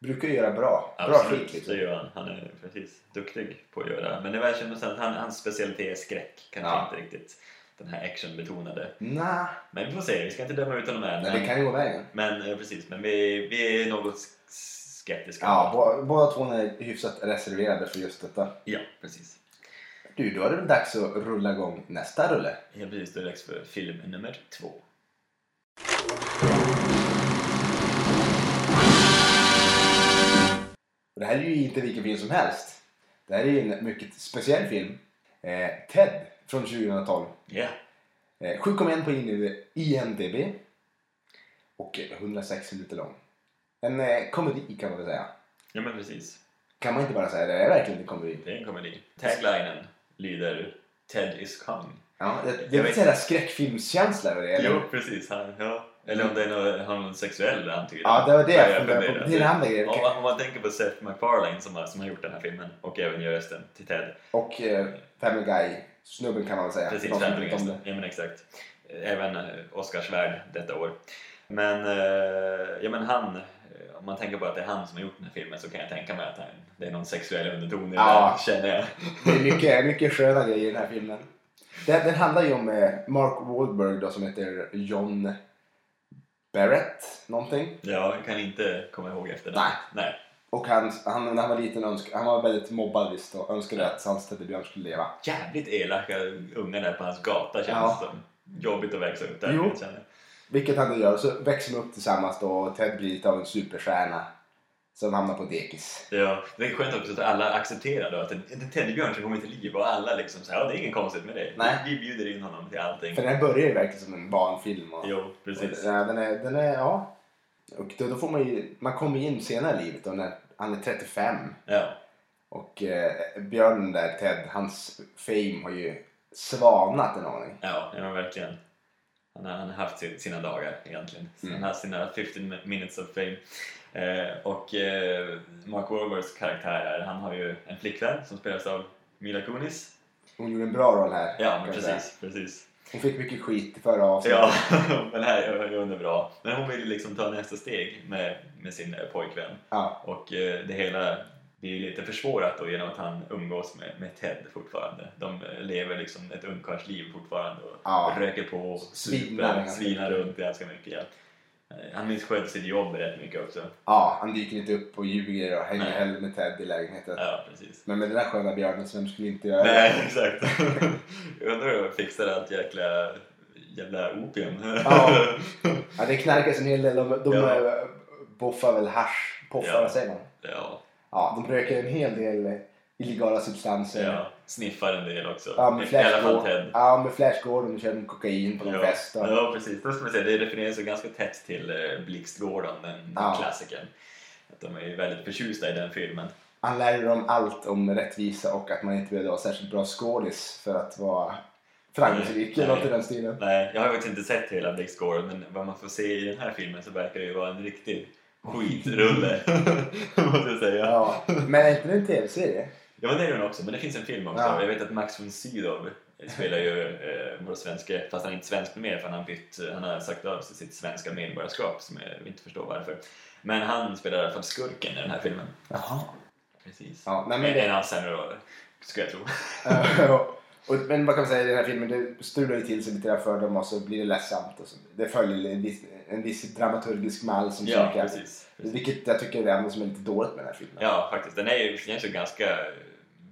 [SPEAKER 2] Brukar ju göra bra. Bra
[SPEAKER 1] absolut.
[SPEAKER 2] skit
[SPEAKER 1] det
[SPEAKER 2] liksom.
[SPEAKER 1] gör han. Han är precis duktig på att göra. Men det verkar som att han, hans specialitet är skräck. Kanske
[SPEAKER 2] Ja.
[SPEAKER 1] inte riktigt den här actionbetonade.
[SPEAKER 2] Nah,
[SPEAKER 1] Men vi får se, vi ska inte döma ut honom än.
[SPEAKER 2] nej, det kan ju gå vägen.
[SPEAKER 1] Men eh, precis, men vi, vi är något sk- skeptiska.
[SPEAKER 2] Ja, bå- båda två är hyfsat reserverade för just detta.
[SPEAKER 1] ja, precis.
[SPEAKER 2] Du, då är det väl dags att rulla igång nästa rulle.
[SPEAKER 1] Ja, precis. Då är det dags för film nummer två.
[SPEAKER 2] Och det här är ju inte vilken film som helst. Det här är ju en mycket speciell film. Eh, Ted från 2012.
[SPEAKER 1] Ja,
[SPEAKER 2] Eh, 7,1 på IMDb- IMDB. Och eh, 106 minuter lång. En eh, komedi kan man väl säga.
[SPEAKER 1] ja men precis.
[SPEAKER 2] Kan man inte bara säga det? Det är verkligen en komedi.
[SPEAKER 1] Det är en komedi. Taglinen lyder Ted is coming.
[SPEAKER 2] Ja, det, det
[SPEAKER 1] Jag
[SPEAKER 2] är
[SPEAKER 1] vet-
[SPEAKER 2] lite sådär skräckfilmskänsla över det. eller?
[SPEAKER 1] Jo, precis. Han, ja. Eller om det är någon, har någon sexuell antydan.
[SPEAKER 2] Ja, det var det jag funderade
[SPEAKER 1] funderar.
[SPEAKER 2] på. Det är den andra grejen.
[SPEAKER 1] Om man, om man tänker på Seth MacFarlane som har, som har gjort den här filmen och även gör rösten till Ted.
[SPEAKER 2] Och eh, Family Guy-snubben kan man väl säga.
[SPEAKER 1] Precis,
[SPEAKER 2] De som
[SPEAKER 1] Family
[SPEAKER 2] tyckte om
[SPEAKER 1] Guy. Ja, men exakt. Även eh, Oscarsvärd detta år. Men, eh, ja, men han, eh, om man tänker på att det är han som har gjort den här filmen så kan jag tänka mig att han, det är någon sexuell underton i
[SPEAKER 2] Ja.
[SPEAKER 1] den, känner jag.
[SPEAKER 2] Det är mycket, mycket sköna grejer i den här filmen. Den, den handlar ju om eh, Mark Wahlberg då, som heter John Barrett någonting.
[SPEAKER 1] Ja, jag kan inte komma ihåg efter
[SPEAKER 2] Nej.
[SPEAKER 1] Nej.
[SPEAKER 2] Och han, han, när han var liten önsk, han var väldigt mobbad visst och önskade att hans teddybjörn skulle leva.
[SPEAKER 1] Jävligt elaka ungar där på hans gata känns
[SPEAKER 2] Ja.
[SPEAKER 1] det som. Jobbigt att växa upp där.
[SPEAKER 2] Jo.
[SPEAKER 1] kan jag känna.
[SPEAKER 2] Vilket han gör. Så växer de upp tillsammans då och Ted blir lite av en superstjärna. Som hamnar på dekis.
[SPEAKER 1] Ja, det är skönt också att alla accepterar då att en, en teddybjörn som kommer till liv och alla liksom så här, ja det är inget konstigt med det.
[SPEAKER 2] Nej.
[SPEAKER 1] Vi bjuder in honom till allting.
[SPEAKER 2] För den här börjar ju verkligen som en barnfilm. Och,
[SPEAKER 1] Jo, precis.
[SPEAKER 2] Och, ja, den är, den är, ja. Och då, då får man ju, man kommer in senare i livet då när han är 35.
[SPEAKER 1] Ja,
[SPEAKER 2] Och eh, björnen där, Ted, hans fame har ju svalnat en aning.
[SPEAKER 1] ja, ja men verkligen. Han har, han har haft sin, sina dagar egentligen.
[SPEAKER 2] Mm.
[SPEAKER 1] Han har haft sina 15 minutes of fame. Eh, och eh, Mark Wahlbergs karaktär här, han har ju en flickvän som spelas av Mila Kunis.
[SPEAKER 2] Hon gjorde en bra roll här.
[SPEAKER 1] Ja,
[SPEAKER 2] kan
[SPEAKER 1] men
[SPEAKER 2] jag säga.
[SPEAKER 1] precis, precis.
[SPEAKER 2] Hon fick mycket skit i förra avsnittet.
[SPEAKER 1] Ja, men här är hon är bra. Men hon vill ju liksom ta nästa steg med, med sin eh, pojkvän.
[SPEAKER 2] Ja.
[SPEAKER 1] Och eh, det hela blir ju lite försvårat då genom att han umgås med, med Ted fortfarande. De eh, lever liksom ett ungkarlsliv fortfarande och
[SPEAKER 2] Ja.
[SPEAKER 1] röker på och
[SPEAKER 2] Svinar
[SPEAKER 1] super,
[SPEAKER 2] ganska
[SPEAKER 1] svinar
[SPEAKER 2] mycket.
[SPEAKER 1] runt ganska mycket. Ja. Eh, Han missköter sitt jobb rätt mycket också.
[SPEAKER 2] ja, han dyker inte upp och ljuger och hänger
[SPEAKER 1] Nej.
[SPEAKER 2] hellre med Ted i lägenheten.
[SPEAKER 1] Ja, precis.
[SPEAKER 2] Men med den där sköna björnen, så vem skulle inte göra det?
[SPEAKER 1] Nej, exakt. Jag undrar hur de fixar allt jäkla, jävla opium.
[SPEAKER 2] Ja. Ja, det knarkas en hel del. De, de
[SPEAKER 1] Ja.
[SPEAKER 2] eh, boffar väl hasch. Poffar,
[SPEAKER 1] Ja.
[SPEAKER 2] vad säger man?
[SPEAKER 1] ja.
[SPEAKER 2] Ja, de röker en hel del eh, illegala substanser.
[SPEAKER 1] Ja, sniffar en del också.
[SPEAKER 2] Ja, med
[SPEAKER 1] I alla
[SPEAKER 2] Flash
[SPEAKER 1] fall
[SPEAKER 2] går-
[SPEAKER 1] Ted.
[SPEAKER 2] ja, med Flash går de och kör kokain på någon
[SPEAKER 1] Ja.
[SPEAKER 2] fest. Och,
[SPEAKER 1] ja, precis. Då ska man säga, det refererar sig ganska tätt till eh, Blixtgården, den
[SPEAKER 2] Ja.
[SPEAKER 1] klassikern. Att de är ju väldigt förtjusta i den filmen.
[SPEAKER 2] Han lär dem allt om rättvisa och att man inte behöver vara särskilt bra skådis för att vara framgångsrik.
[SPEAKER 1] Nej.
[SPEAKER 2] Eller något i den stilen.
[SPEAKER 1] Nej, jag har faktiskt inte sett hela Blixtgården, men vad man får se i den här filmen så verkar det ju vara en riktig skitrulle, måste jag säga. Ja.
[SPEAKER 2] Ja. Men är inte det en tv-serie?
[SPEAKER 1] men det är den också, men det finns en film också.
[SPEAKER 2] Ja.
[SPEAKER 1] Jag vet att Max von Sydow spelar ju eh, vår svenske, fast han är inte svensk nu mer för han har, bytt, han har sagt av sig sitt svenska medborgarskap som jag inte förstår varför. Men han spelar i alla fall skurken i den här filmen.
[SPEAKER 2] Jaha.
[SPEAKER 1] Precis.
[SPEAKER 2] Ja, nej, men
[SPEAKER 1] Men det är
[SPEAKER 2] det,
[SPEAKER 1] en allt sämre roller, skulle jag tro.
[SPEAKER 2] och, men vad kan man säga i den här filmen? Det strular ju till sig lite där för dem och så blir det ledsamt. Och så. Det följer en viss, en viss dramaturgisk mall som
[SPEAKER 1] Ja,
[SPEAKER 2] cirka-
[SPEAKER 1] precis. precis.
[SPEAKER 2] Vilket jag tycker är det enda som är lite dåligt med den här filmen.
[SPEAKER 1] Ja, faktiskt. Den är ju egentligen ganska eh,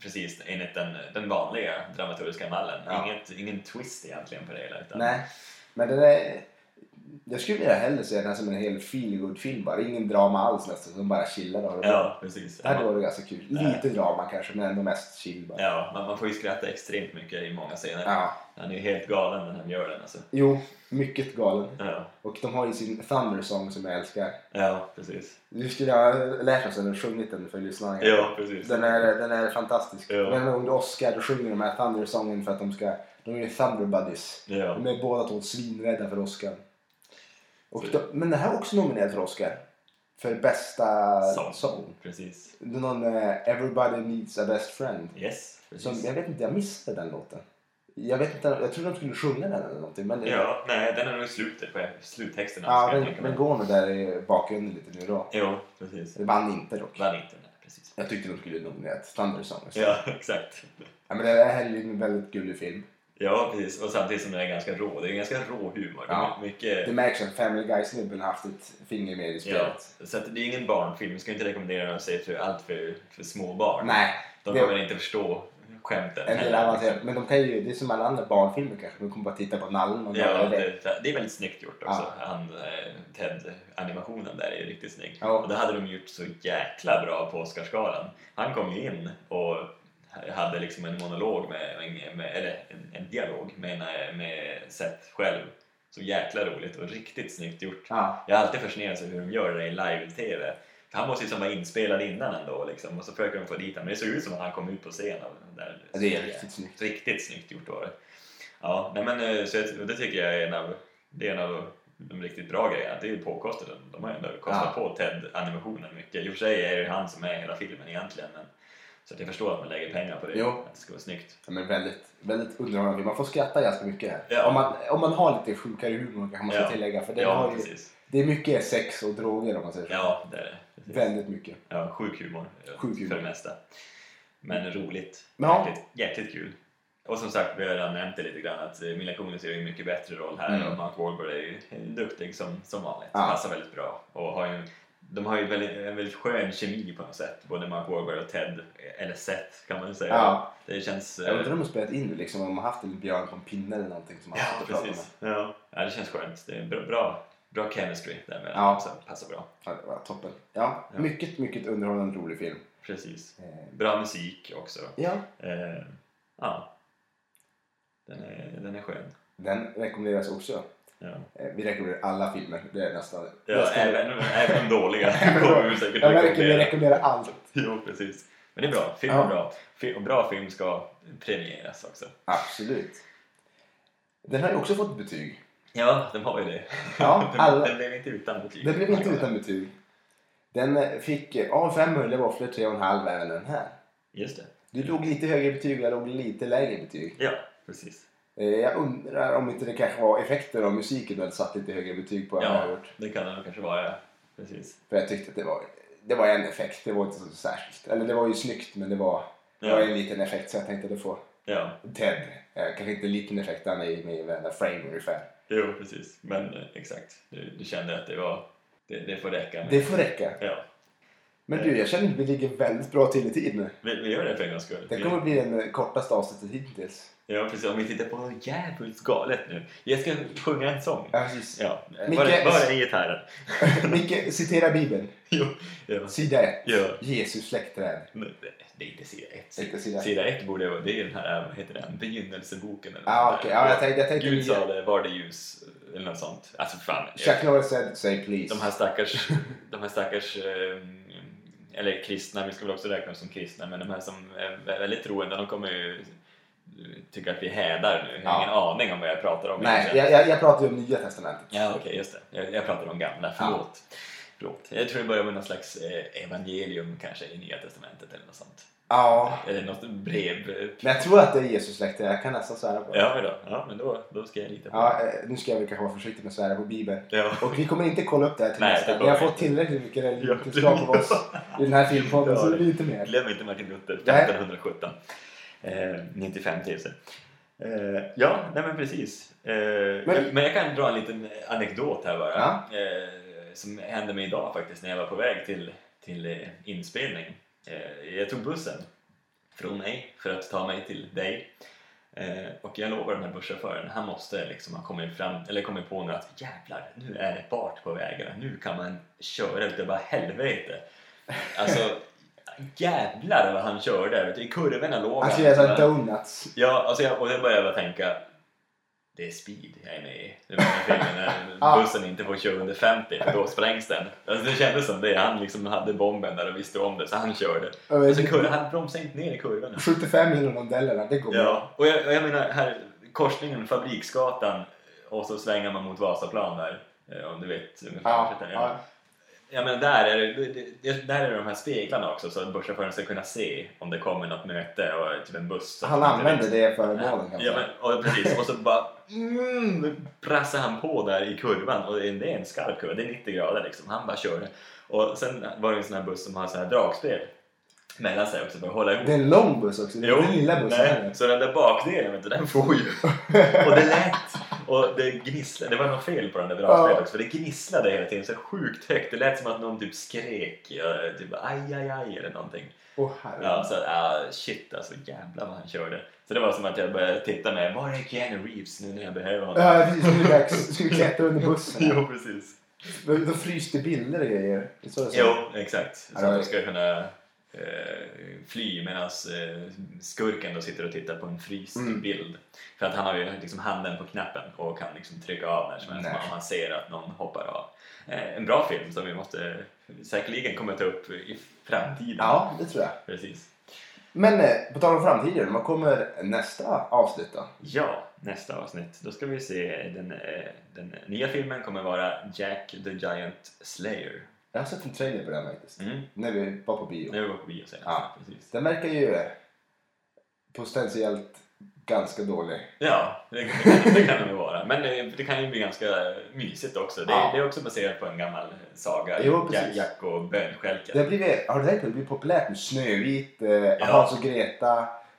[SPEAKER 1] precis enligt den, den vanliga dramaturgiska mallen.
[SPEAKER 2] Ja.
[SPEAKER 1] Inget, ingen twist egentligen på det hela. Utan,
[SPEAKER 2] Nej. Men den är, Jag skulle vilja hellre se den här som en hel feelgood-film bara. Ingen drama alls nästan, som bara chillar och har det bra.
[SPEAKER 1] Ja, precis.
[SPEAKER 2] Det hade varit ganska kul. Lite drama kanske, men ändå mest chill bara.
[SPEAKER 1] Ja, man, man får ju skratta extremt mycket i många scener.
[SPEAKER 2] Ja.
[SPEAKER 1] Han är ju helt galen den här mjölen alltså.
[SPEAKER 2] Jo, mycket galen.
[SPEAKER 1] Ja,
[SPEAKER 2] Och de har ju sin Thundersong som jag älskar.
[SPEAKER 1] ja precis.
[SPEAKER 2] Du skulle ha lärt oss eller sjungit den för lyssnarna.
[SPEAKER 1] Ja, precis.
[SPEAKER 2] Den är, den är fantastisk.
[SPEAKER 1] Ja.
[SPEAKER 2] Varenda gång det är Oscar då sjunger de här Thunder-sången för att de ska... De är ju Thunderbuddies.
[SPEAKER 1] Ja.
[SPEAKER 2] De är båda två svinrädda för Oscar. Och
[SPEAKER 1] Så-
[SPEAKER 2] de, men den här är också nominerad för Oscar. För bästa
[SPEAKER 1] Sång.
[SPEAKER 2] sång.
[SPEAKER 1] Precis.
[SPEAKER 2] Det är någon eh, Everybody Needs a Best Friend.
[SPEAKER 1] Yes,
[SPEAKER 2] Som,
[SPEAKER 1] precis.
[SPEAKER 2] jag vet inte, jag missade den låten. Jag vet inte, jag trodde de skulle sjunga den eller någonting. Men,
[SPEAKER 1] Ja, nej, den är nog i slutet på sluttexten.
[SPEAKER 2] ja,
[SPEAKER 1] ska jag tänka
[SPEAKER 2] den,
[SPEAKER 1] mig.
[SPEAKER 2] den går nog där i bakgrunden lite nu då.
[SPEAKER 1] Jo, precis.
[SPEAKER 2] Det vann inte dock.
[SPEAKER 1] Vann inte den där, precis.
[SPEAKER 2] Jag tyckte de skulle nominera till Thunder Song.
[SPEAKER 1] Ja, exakt.
[SPEAKER 2] Ja, men det här är ju en väldigt gullig film.
[SPEAKER 1] Ja, precis. Och samtidigt som den är ganska rå. Det är en ganska rå humor.
[SPEAKER 2] Ja.
[SPEAKER 1] Mycket...
[SPEAKER 2] Det märks att Family Guy-snubben har haft ett finger med i
[SPEAKER 1] Ja,
[SPEAKER 2] spelet.
[SPEAKER 1] så att det är ingen barnfilm. Vi ska inte rekommendera den att se för allt för, för små barn.
[SPEAKER 2] Nej,
[SPEAKER 1] De
[SPEAKER 2] det-
[SPEAKER 1] kommer inte förstå skämten.
[SPEAKER 2] en del
[SPEAKER 1] heller.
[SPEAKER 2] avancerat. Men de kan ju, det är som alla andra barnfilmer kanske. De kommer bara titta på nallen och
[SPEAKER 1] Ja,
[SPEAKER 2] bara, det.
[SPEAKER 1] det, det är väldigt snyggt gjort också.
[SPEAKER 2] Ja.
[SPEAKER 1] Han, eh, Ted-animationen där är ju riktigt snygg.
[SPEAKER 2] Ja.
[SPEAKER 1] Och det hade de gjort så jäkla bra på Oscarsgalan. Han kom ju in och hade liksom en monolog, med, en- med, eller en, en dialog med, med Seth själv. Så jäkla roligt och riktigt snyggt gjort.
[SPEAKER 2] Ja,
[SPEAKER 1] Jag är alltid fascinerad av hur de gör det i live-tv. För han måste ju som vara inspelad innan ändå liksom. och så försöker de få dit honom. Men det såg ut som att han kom ut på scenen. Där.
[SPEAKER 2] det är riktigt snyggt.
[SPEAKER 1] Riktigt snyggt gjort var det. Ja, nej men eh, så jag, och det tycker jag är en av, det är en av de riktigt bra grejerna. Det är ju påkostat. De har ju ändå kostat på Ted-animationen mycket. I och för sig är det ju han som är i hela filmen egentligen. Men, så att jag förstår att man lägger pengar på det.
[SPEAKER 2] Jo.
[SPEAKER 1] Att det ska vara snyggt.
[SPEAKER 2] Ja, men väldigt, väldigt underhållande. Man får skratta ganska mycket här.
[SPEAKER 1] Ja.
[SPEAKER 2] Om, man, om man har lite sjukare humor kan man
[SPEAKER 1] Ja.
[SPEAKER 2] ska tillägga. För det,
[SPEAKER 1] ja,
[SPEAKER 2] har ju,
[SPEAKER 1] precis.
[SPEAKER 2] det är mycket sex och droger om man säger så.
[SPEAKER 1] Ja, det är det. Precis.
[SPEAKER 2] Väldigt mycket.
[SPEAKER 1] Ja, sjuk humor, eh,
[SPEAKER 2] Sjuk humor.
[SPEAKER 1] för det mesta. Men roligt.
[SPEAKER 2] Ja.
[SPEAKER 1] Jäkligt, jäkligt kul. Och som sagt, vi har redan nämnt det lite grann att eh, Mila Kunis gör ju en mycket bättre roll här
[SPEAKER 2] Mm.
[SPEAKER 1] och Mark Wahlberg är ju duktig som, som vanligt.
[SPEAKER 2] Ja.
[SPEAKER 1] Passar väldigt bra. Och har ju, en- de har ju väldigt, en väldigt skön kemi på något sätt, både Mark Wahlberg och Ted, eller Seth kan man ju säga.
[SPEAKER 2] Ja.
[SPEAKER 1] Det känns... eh,
[SPEAKER 2] Jag undrar om de spelat in det liksom. Om de har haft en björn på en pinne eller någonting som man
[SPEAKER 1] Ja,
[SPEAKER 2] sitter och pratar med.
[SPEAKER 1] precis. Ja. ja, det känns skönt. Det är bra, bra, bra chemistry där med
[SPEAKER 2] Ja.
[SPEAKER 1] så passar bra.
[SPEAKER 2] Ja, det var toppen. Ja,
[SPEAKER 1] Ja.
[SPEAKER 2] mycket, mycket underhållande rolig film.
[SPEAKER 1] Precis.
[SPEAKER 2] Eh,
[SPEAKER 1] Bra musik också.
[SPEAKER 2] ja,
[SPEAKER 1] Eh, ja. Den är, den är skön.
[SPEAKER 2] den rekommenderas också.
[SPEAKER 1] Ja,
[SPEAKER 2] Eh, vi rekommenderar alla filmer. Det är nästan...
[SPEAKER 1] ja
[SPEAKER 2] nästan
[SPEAKER 1] även, även de dåliga
[SPEAKER 2] Även de-
[SPEAKER 1] kommer vi säkert
[SPEAKER 2] jag verkar vi
[SPEAKER 1] rekommendera.
[SPEAKER 2] rekommenderar allt.
[SPEAKER 1] Jo, precis. Men det är bra. Film är
[SPEAKER 2] Ja.
[SPEAKER 1] bra. Fi- och bra film ska premieras också.
[SPEAKER 2] Absolut. Den har ju också fått betyg.
[SPEAKER 1] Ja, den har ju det.
[SPEAKER 2] Ja,
[SPEAKER 1] den,
[SPEAKER 2] alla-
[SPEAKER 1] den blev inte utan betyg.
[SPEAKER 2] Den blev inte utan betyg. Den eh, fick eh, av fem möjliga våfflor 3,5 även den här.
[SPEAKER 1] Just det.
[SPEAKER 2] Du låg lite högre betyg och jag låg lite lägre betyg.
[SPEAKER 1] Ja, precis.
[SPEAKER 2] Eh, Jag undrar om inte det kanske var effekten av musiken du hade satt lite högre betyg på än vad jag har
[SPEAKER 1] Ja,
[SPEAKER 2] gjort.
[SPEAKER 1] det kan den kanske vara. ja. Precis.
[SPEAKER 2] För jag tyckte att det var, det var en effekt, det var inte så särskilt. Eller det var ju snyggt men det var, det var
[SPEAKER 1] Ja.
[SPEAKER 2] en liten effekt så jag tänkte att det får
[SPEAKER 1] Ja,
[SPEAKER 2] Ted. Eh, kanske inte en liten effekt, han är ju med i varenda frame ungefär.
[SPEAKER 1] jo precis. Men eh, exakt. Du, du kände att det var... Det, det får räcka med...
[SPEAKER 2] Det får räcka.
[SPEAKER 1] Ja.
[SPEAKER 2] Men du, jag känner att vi ligger väldigt bra till i tid nu.
[SPEAKER 1] Vi, vi gör det för en gångs skull.
[SPEAKER 2] Det
[SPEAKER 1] Vi-
[SPEAKER 2] kommer bli den eh, kortaste avsnittet hittills.
[SPEAKER 1] Ja, precis. Om vi tittar på något jävligt galet nu. Jag ska sjunga en sång.
[SPEAKER 2] Ja, precis.
[SPEAKER 1] Ja.
[SPEAKER 2] Micke-
[SPEAKER 1] Var är, var är gitarren?
[SPEAKER 2] Micke, citera Bibeln.
[SPEAKER 1] Jo. Ja.
[SPEAKER 2] Sida 1.
[SPEAKER 1] ja.
[SPEAKER 2] Jesus släktträd.
[SPEAKER 1] Men det- Det är inte sida ett.
[SPEAKER 2] Inte sida ett.
[SPEAKER 1] Sida ett borde vara... Det är den här, vad heter den? Begynnelseboken eller
[SPEAKER 2] Ah,
[SPEAKER 1] något
[SPEAKER 2] okej.
[SPEAKER 1] sånt där.
[SPEAKER 2] Ja, jag tänkte... Jag tänkte
[SPEAKER 1] Gud sa det, var det ljus? Eller något sånt. Alltså fan.
[SPEAKER 2] Chuck E. Norris said, say please.
[SPEAKER 1] De här stackars... de här stackars... eh, Eller kristna, vi ska väl också räkna oss som kristna, men de här som är väldigt troende, de kommer ju tycka att vi hädar nu. Jag har
[SPEAKER 2] Ja.
[SPEAKER 1] ingen aning om vad jag pratar om.
[SPEAKER 2] Nej,
[SPEAKER 1] egentligen.
[SPEAKER 2] jag, jag, jag pratar ju om Nya Testamentet.
[SPEAKER 1] Ja, okej, just det. Jag, jag pratar om gamla, förlåt. förlåt. Jag tror det börjar med någon slags eh, evangelium kanske i Nya Testamentet eller något sånt.
[SPEAKER 2] Ja.
[SPEAKER 1] Eller något brev. eh,
[SPEAKER 2] Men jag tror att det är Jesus släktträd. Jag kan nästan svära på det.
[SPEAKER 1] Ja, men då. ja men då, då ska jag lita på
[SPEAKER 2] Ja, eh, nu ska jag väl kanske vara försiktig med att svära på Bibeln.
[SPEAKER 1] det. Ja.
[SPEAKER 2] Och vi kommer inte kolla upp det här till
[SPEAKER 1] Nej, det
[SPEAKER 2] nästa. Vi
[SPEAKER 1] kommer
[SPEAKER 2] har
[SPEAKER 1] vi
[SPEAKER 2] fått tillräckligt mycket
[SPEAKER 1] Ja,
[SPEAKER 2] religionskunskap
[SPEAKER 1] det-
[SPEAKER 2] av oss i den här filmpodden,
[SPEAKER 1] Ja, Alltså,
[SPEAKER 2] så
[SPEAKER 1] det-
[SPEAKER 2] lite mer.
[SPEAKER 1] Glöm inte Martin Luther,
[SPEAKER 2] Nej.
[SPEAKER 1] 1517. Eh, 95 000. Eh, ja, nej men precis. Eh, men, jag, men jag kan dra en liten anekdot här bara.
[SPEAKER 2] Ja.
[SPEAKER 1] Eh, som hände mig idag faktiskt när jag var på väg till, till eh, inspelning. Eh, jag tog bussen från mig för att ta mig till dig. Eh, och jag lovar den här busschauffören, han måste liksom ha kommit, fram, eller kommit på nu att jävlar, nu är det fart på vägarna, nu kan man köra utav bara helvete. Alltså, jävlar vad han körde, vet du, i kurvorna låg
[SPEAKER 2] Han skulle äta
[SPEAKER 1] bara-
[SPEAKER 2] donuts.
[SPEAKER 1] Ja, alltså jag, och då började jag bara tänka det är speed jag är med i. Det var den filmen när
[SPEAKER 2] Ah.
[SPEAKER 1] bussen inte får köra under 50 för då sprängs den. Alltså det kändes som det. Han liksom hade bomben där och visste om det så han körde. Alltså kurvan, han bromsade inte ner i kurvorna.
[SPEAKER 2] 75 mil rondellerna, det går bra.
[SPEAKER 1] Ja, och jag, och jag menar här korsningen Fabriksgatan och så svänger man mot Vasaplan där. eh, Om du vet ungefär.
[SPEAKER 2] Ja,
[SPEAKER 1] vad det är.
[SPEAKER 2] ja.
[SPEAKER 1] Ja men där är det, det- det, där är det de här speglarna också så att busschauffören ska kunna se om det kommer något möte och typ en buss.
[SPEAKER 2] Han använde det alltså. föremålet
[SPEAKER 1] Ja, men, och precis. Och så bara mm, prassade han på där i kurvan. Och det är det är en skarp kurva, det är 90 grader liksom. Han bara körde. Och sen var det en sån här buss som har så här dragspel mellan sig också för att hålla ihop.
[SPEAKER 2] Det är en lång buss också, det är inte den lilla bussen.
[SPEAKER 1] nej,
[SPEAKER 2] heller.
[SPEAKER 1] så den där bakdelen vet du, den får ju. Och det lät. Och det gnisslade. Det var något fel på den där dragspelet
[SPEAKER 2] Ja.
[SPEAKER 1] också. För det gnisslade hela tiden så sjukt högt. Det lät som att någon typ skrek. eh, Typ aj, aj, aj eller någonting.
[SPEAKER 2] Åh herregud.
[SPEAKER 1] Ja, så att, ah, shit alltså jävlar vad han körde. Så det var som att jag började titta med, var är Keanu Reeves nu när jag behöver honom?
[SPEAKER 2] Ja, precis. Nu är det dags. Ska vi klättra under bussen?
[SPEAKER 1] jo, precis.
[SPEAKER 2] Men Då fryste bilder och grejer. Det är så det är.
[SPEAKER 1] Jo, exakt. Så
[SPEAKER 2] Ja,
[SPEAKER 1] att
[SPEAKER 2] det-
[SPEAKER 1] de ska kunna eh, fly medan eh, skurken då sitter och tittar på en fryst
[SPEAKER 2] Mm.
[SPEAKER 1] bild. För att han har ju liksom handen på knappen och kan liksom trycka av när som helst
[SPEAKER 2] Nej.
[SPEAKER 1] om han ser att någon hoppar av. Eh, en bra film som vi måste säkerligen kommer ta upp i framtiden.
[SPEAKER 2] Ja, det tror jag.
[SPEAKER 1] Precis.
[SPEAKER 2] Men eh, på tal om framtiden, vad kommer nästa avsnitt då?
[SPEAKER 1] Ja, nästa avsnitt. Då ska vi se. Den, eh, den nya filmen kommer vara Jack the Giant Slayer.
[SPEAKER 2] Jag har sett en trailer på den faktiskt.
[SPEAKER 1] Mm.
[SPEAKER 2] När vi var på bio.
[SPEAKER 1] Nu var på bio senast.
[SPEAKER 2] Ja.
[SPEAKER 1] Precis.
[SPEAKER 2] Den verkar ju eh, potentiellt ganska dålig.
[SPEAKER 1] ja det, det, kan, det kan det nog vara. Men eh, det, det kan ju bli ganska mysigt också. Det,
[SPEAKER 2] Ja.
[SPEAKER 1] det är också baserat på en gammal saga.
[SPEAKER 2] Jo,
[SPEAKER 1] Jack,
[SPEAKER 2] precis.
[SPEAKER 1] Jack och
[SPEAKER 2] Det
[SPEAKER 1] bönskälken.
[SPEAKER 2] har blivit, har du tänkt på det? Det blir populärt nu. Snövit, eh, Hans och Greta,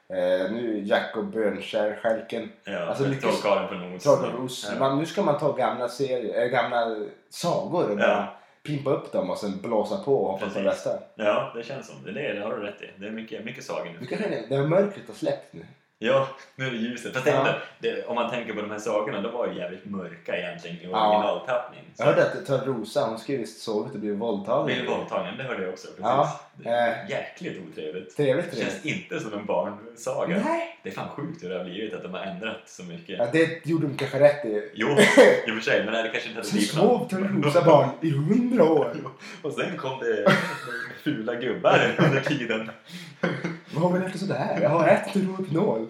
[SPEAKER 2] eh, nu Jack och Björnskär, Stjälken.
[SPEAKER 1] Ja,
[SPEAKER 2] alltså
[SPEAKER 1] alltså,
[SPEAKER 2] lyckas-
[SPEAKER 1] Trollkarlen från Oz.
[SPEAKER 2] Trollkarlen-Ros.
[SPEAKER 1] Ja.
[SPEAKER 2] Man- Nu ska man ta gamla, serier, äh, gamla sagor och bara
[SPEAKER 1] Ja.
[SPEAKER 2] pimpa upp dem och sen blåsa på och hoppas på det
[SPEAKER 1] Precis.
[SPEAKER 2] bästa.
[SPEAKER 1] ja, det känns som det. Det, det har du rätt i. Det är mycket, mycket sagor nu.
[SPEAKER 2] Du kan skilja, det här mörkret har släppt nu.
[SPEAKER 1] Ja, nu är det ljuset. Fast det
[SPEAKER 2] Ja.
[SPEAKER 1] ändå, det, om man tänker på de här sagorna, de var ju jävligt mörka egentligen i
[SPEAKER 2] Ja.
[SPEAKER 1] originaltappning. Så-
[SPEAKER 2] Jag hörde att Törnrosa, hon skulle visst sovit och blivit våldtagen.
[SPEAKER 1] Blev våldtagen, det hörde jag också. Precis.
[SPEAKER 2] Ja,
[SPEAKER 1] det är
[SPEAKER 2] eh.
[SPEAKER 1] jäkligt otrevligt.
[SPEAKER 2] Trevligt,
[SPEAKER 1] Det känns
[SPEAKER 2] trevligt.
[SPEAKER 1] inte som en barnsaga.
[SPEAKER 2] Nej.
[SPEAKER 1] Det är fan sjukt hur det har blivit att de har ändrat så mycket.
[SPEAKER 2] Ja, det gjorde de kanske rätt i.
[SPEAKER 1] Jo, i och för sig, men det kanske inte hade
[SPEAKER 2] Så
[SPEAKER 1] blivit någon.
[SPEAKER 2] sov Törnrosa barn i hundra år.
[SPEAKER 1] Och sen kom det fula gubbar under tiden.
[SPEAKER 2] Vad har vi lärt oss sådär? Jag har ätit en rohypnol.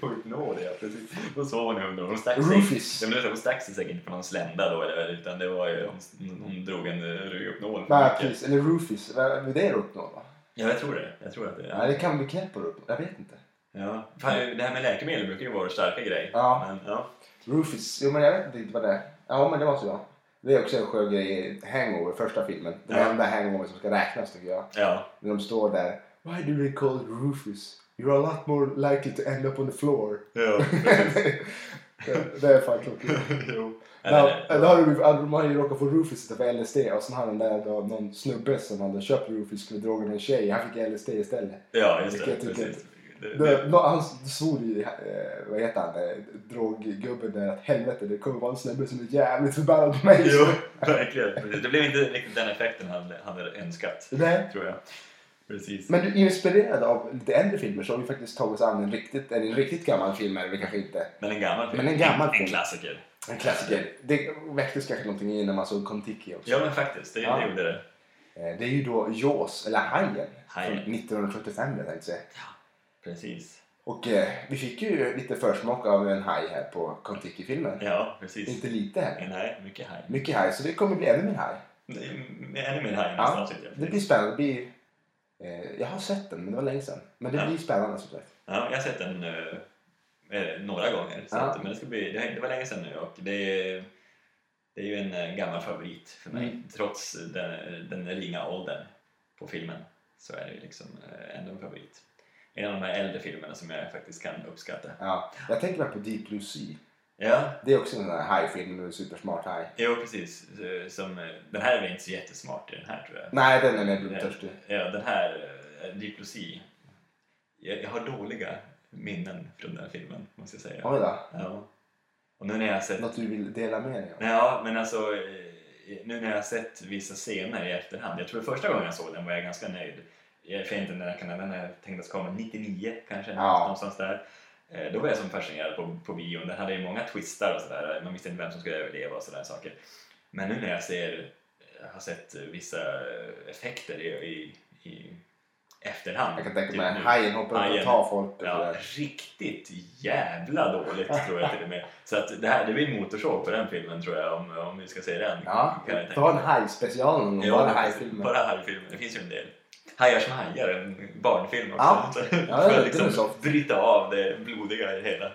[SPEAKER 1] Sjukt nåd, ja precis. Då sov hon i hundra år. Hon stack sig-
[SPEAKER 2] Rufus.
[SPEAKER 1] Ja, men det är så, Hon stack sig säkert inte på någon slända då, eller, utan det var ju, hon, hon drog en eh, Rohypnol. för
[SPEAKER 2] Nej,
[SPEAKER 1] mycket.
[SPEAKER 2] precis. Eller Rufus. Vad är det rohypnol va?
[SPEAKER 1] Ja, jag tror det. Jag tror att det
[SPEAKER 2] Nej, det kan bli knäpp på rohypnol. Jag vet inte.
[SPEAKER 1] Ja. Fan, det här med läkemedel brukar ju vara vår starka grej.
[SPEAKER 2] Ja.
[SPEAKER 1] Men, ja.
[SPEAKER 2] Rufus. Jo, men jag vet inte vad det är. Ja, men det måste det vara. Det är också en skön grej i Hangover, första filmen. Den
[SPEAKER 1] Ja.
[SPEAKER 2] enda hangover som ska räknas tycker jag.
[SPEAKER 1] Ja,
[SPEAKER 2] När de står där. Why do they call it Rufus? You're a lot more likely to end up on the floor.
[SPEAKER 1] ja.
[SPEAKER 2] det, det är fan klockrent.
[SPEAKER 1] jo.
[SPEAKER 2] Ja, Då har du- hade de har ju råkat få Rufus att få LSD och sen hade den där då, någon snubbe som hade köpt Rufus skulle droga någon tjej. Han fick LSD istället.
[SPEAKER 1] ja, just det.
[SPEAKER 2] Vilket-
[SPEAKER 1] Precis. Det,
[SPEAKER 2] Det,
[SPEAKER 1] det,
[SPEAKER 2] nå- han svor ju, eh, vad heter han, eh, droggubben där att helvete det kommer vara en snubbe som är jävligt förbannad på mig.
[SPEAKER 1] jo, verkligen. Precis. Det blev inte riktigt den effekten han han hade önskat,
[SPEAKER 2] Nej.
[SPEAKER 1] tror jag. Precis.
[SPEAKER 2] Men du, inspirerad av lite äldre filmer så har vi faktiskt tagit oss an en riktigt, en riktigt gammal film är det kanske inte.
[SPEAKER 1] Men en gammal film.
[SPEAKER 2] Men en gammal
[SPEAKER 1] En
[SPEAKER 2] film.
[SPEAKER 1] klassiker.
[SPEAKER 2] En klassiker. Det väcktes kanske någonting i när man såg Kon-Tiki också.
[SPEAKER 1] Ja, men faktiskt. Det,
[SPEAKER 2] Ja.
[SPEAKER 1] det gjorde det.
[SPEAKER 2] Eh, Det är ju då Jaws, eller Hajen,
[SPEAKER 1] Hajen.
[SPEAKER 2] från 1975 jag tänkte säga.
[SPEAKER 1] Precis.
[SPEAKER 2] Och eh, vi fick ju lite försmak av en haj här på Kon-Tiki-filmen.
[SPEAKER 1] Ja, precis.
[SPEAKER 2] Inte lite heller.
[SPEAKER 1] Nej, mycket haj.
[SPEAKER 2] Mycket haj, så det kommer bli ännu mer haj.
[SPEAKER 1] Det är Ännu mer haj än nästa
[SPEAKER 2] Ja,
[SPEAKER 1] avsnitt. ja.
[SPEAKER 2] det blir spännande. Det blir, eh, jag har sett den, men det var länge sedan. Men det
[SPEAKER 1] Ja.
[SPEAKER 2] blir spännande som sagt.
[SPEAKER 1] Ja, jag har sett den eh, eh, några gånger. Så
[SPEAKER 2] Ja.
[SPEAKER 1] att, men det, ska bli, det, det var länge sedan nu och det är, det är ju en eh, gammal favorit för mig.
[SPEAKER 2] Mm.
[SPEAKER 1] Trots den, eh, den ringa åldern på filmen så är det ju liksom eh, ändå en favorit. En av de här äldre filmerna som jag faktiskt kan uppskatta.
[SPEAKER 2] Ja. Jag tänker bara på Deep Blue Sea.
[SPEAKER 1] Ja,
[SPEAKER 2] Det är också en sån här hajfilm, en supersmart haj.
[SPEAKER 1] jo precis. Eh, Som, eh, den här är väl inte så jättesmart i den här tror jag.
[SPEAKER 2] Nej, den är mer blodtörstig.
[SPEAKER 1] Ja, den här eh, Deep Blue Sea. Jag, jag har dåliga minnen från den filmen, måste jag säga.
[SPEAKER 2] Oj då.
[SPEAKER 1] Ja. Och nu när jag har sett...
[SPEAKER 2] Något du vill dela med dig av?
[SPEAKER 1] Nej, ja, men alltså... eh, Nu när jag har sett vissa scener i efterhand. Jag tror första gången jag såg den var jag ganska nöjd. Jag vet inte när den kan... Den här tänktes komma 99 kanske,
[SPEAKER 2] Ja.
[SPEAKER 1] någonstans där. Eh, Då var jag som fascinerad på, på bion. Den hade ju många twistar och sådär. Man visste inte vem som skulle överleva och sådär saker. Men nu när jag ser, eh, har sett vissa effekter i, i, i efterhand.
[SPEAKER 2] Jag kan tänka
[SPEAKER 1] typ
[SPEAKER 2] mig
[SPEAKER 1] nu.
[SPEAKER 2] att hajen hoppar upp och
[SPEAKER 1] Hajen.
[SPEAKER 2] tar folk. och
[SPEAKER 1] Ja,
[SPEAKER 2] sådär.
[SPEAKER 1] riktigt jävla dåligt tror jag till och med. Så att det, här, det blir motorsåg på den filmen tror jag om, om vi ska se den.
[SPEAKER 2] Ja,
[SPEAKER 1] kan jag tänka.
[SPEAKER 2] ta en hajspecial någon gång.
[SPEAKER 1] Jo,
[SPEAKER 2] Bara hajfilmer.
[SPEAKER 1] Bara hajfilmer. Det finns ju en del. Hajar som hajar, en barnfilm också.
[SPEAKER 2] Ja.
[SPEAKER 1] Så
[SPEAKER 2] det
[SPEAKER 1] för
[SPEAKER 2] är
[SPEAKER 1] att liksom
[SPEAKER 2] så.
[SPEAKER 1] bryta av det blodiga i det hela.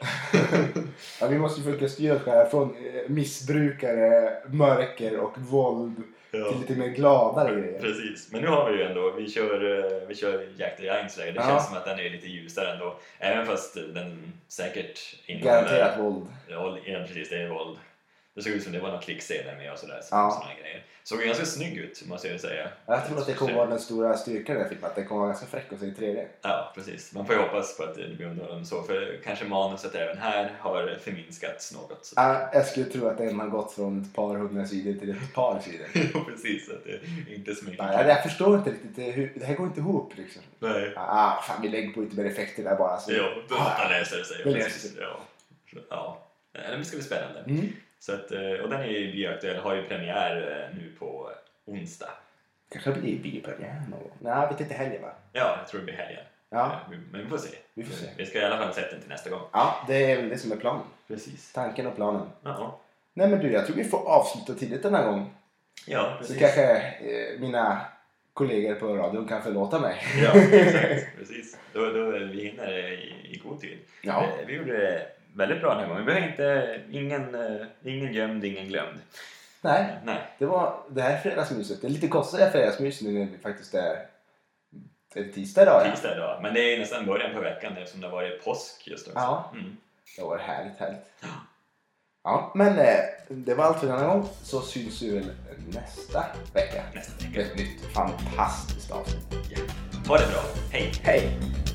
[SPEAKER 2] Ja, vi måste ju försöka styra det här från eh, missbrukare, mörker och våld
[SPEAKER 1] Ja.
[SPEAKER 2] till lite mer gladare grejer.
[SPEAKER 1] Precis, men nu har vi ju ändå, vi kör, eh, vi kör Jack the Giants Slayer. Det
[SPEAKER 2] Ja.
[SPEAKER 1] känns som att den är lite ljusare ändå. Även fast den säkert
[SPEAKER 2] Garanterat våld.
[SPEAKER 1] Ja, ja, precis. Det är våld. Det såg ut som det var några klickscener med och sådär.
[SPEAKER 2] Ja.
[SPEAKER 1] Ja. Såna grejer. Såg ganska snygg ut, måste jag ju säga.
[SPEAKER 2] Jag tror att det kommer vara den stora styrkan i den här filmen. Att den kommer vara ganska fräck och se i 3D.
[SPEAKER 1] Ja, precis. Man får ju hoppas på att det blir underhållande så. För kanske manuset även här har förminskats något. Så.
[SPEAKER 2] Ja, Jag skulle tro att den har gått från ett par hundra sidor till ett par sidor.
[SPEAKER 1] Ja, precis. Att det är inte så mycket.
[SPEAKER 2] Nej, jag förstår inte riktigt. Det, hur, det här går inte ihop liksom.
[SPEAKER 1] Nej.
[SPEAKER 2] Ah, fan, vi lägger på lite mer effekter där bara. Så.
[SPEAKER 1] Jo, då ah. läser det sig.
[SPEAKER 2] Det
[SPEAKER 1] precis.
[SPEAKER 2] läser
[SPEAKER 1] Ja. ja. Nej, Det ska bli spännande.
[SPEAKER 2] Mm.
[SPEAKER 1] Så att, eh, och den är ju bioaktuell, har ju premiär eh, nu på onsdag.
[SPEAKER 2] Kanske blir biopremiär någon gång. Nej, jag vet inte heller va?
[SPEAKER 1] Ja, jag tror det blir helgen.
[SPEAKER 2] Ja.
[SPEAKER 1] Eh, Men vi får se.
[SPEAKER 2] Vi får se.
[SPEAKER 1] Vi ska i alla fall sätta den till nästa gång.
[SPEAKER 2] ja, det är väl det som är planen.
[SPEAKER 1] Precis.
[SPEAKER 2] Tanken och planen.
[SPEAKER 1] Ja,
[SPEAKER 2] Nej men du, jag tror vi får avsluta tidigt den här gången.
[SPEAKER 1] ja
[SPEAKER 2] Så
[SPEAKER 1] precis.
[SPEAKER 2] kanske eh, mina kollegor på radion kan förlåta mig.
[SPEAKER 1] Ja, exakt. precis. Då, då vi hinner i, i god tid.
[SPEAKER 2] Ja.
[SPEAKER 1] Eh, Vi gjorde det väldigt bra den här gången. Vi har inte, ingen, eh, ingen gömd, ingen glömd.
[SPEAKER 2] Nej,
[SPEAKER 1] Nej,
[SPEAKER 2] det var det här fredagsmyset. Det är lite konstigare fredagsmys nu när vi faktiskt är... Det är tisdag idag ja.
[SPEAKER 1] tisdag idag. Men det är ju nästan början på veckan eftersom det har varit påsk just också.
[SPEAKER 2] Ja.
[SPEAKER 1] Mm.
[SPEAKER 2] Det var härligt, härligt. Ja, men eh, det var allt för denna gång. Så syns vi väl nästa vecka.
[SPEAKER 1] Nästa vecka.
[SPEAKER 2] Ett nytt fantastiskt avsnitt.
[SPEAKER 1] Ja. Ha det bra. Hej!
[SPEAKER 2] Hej!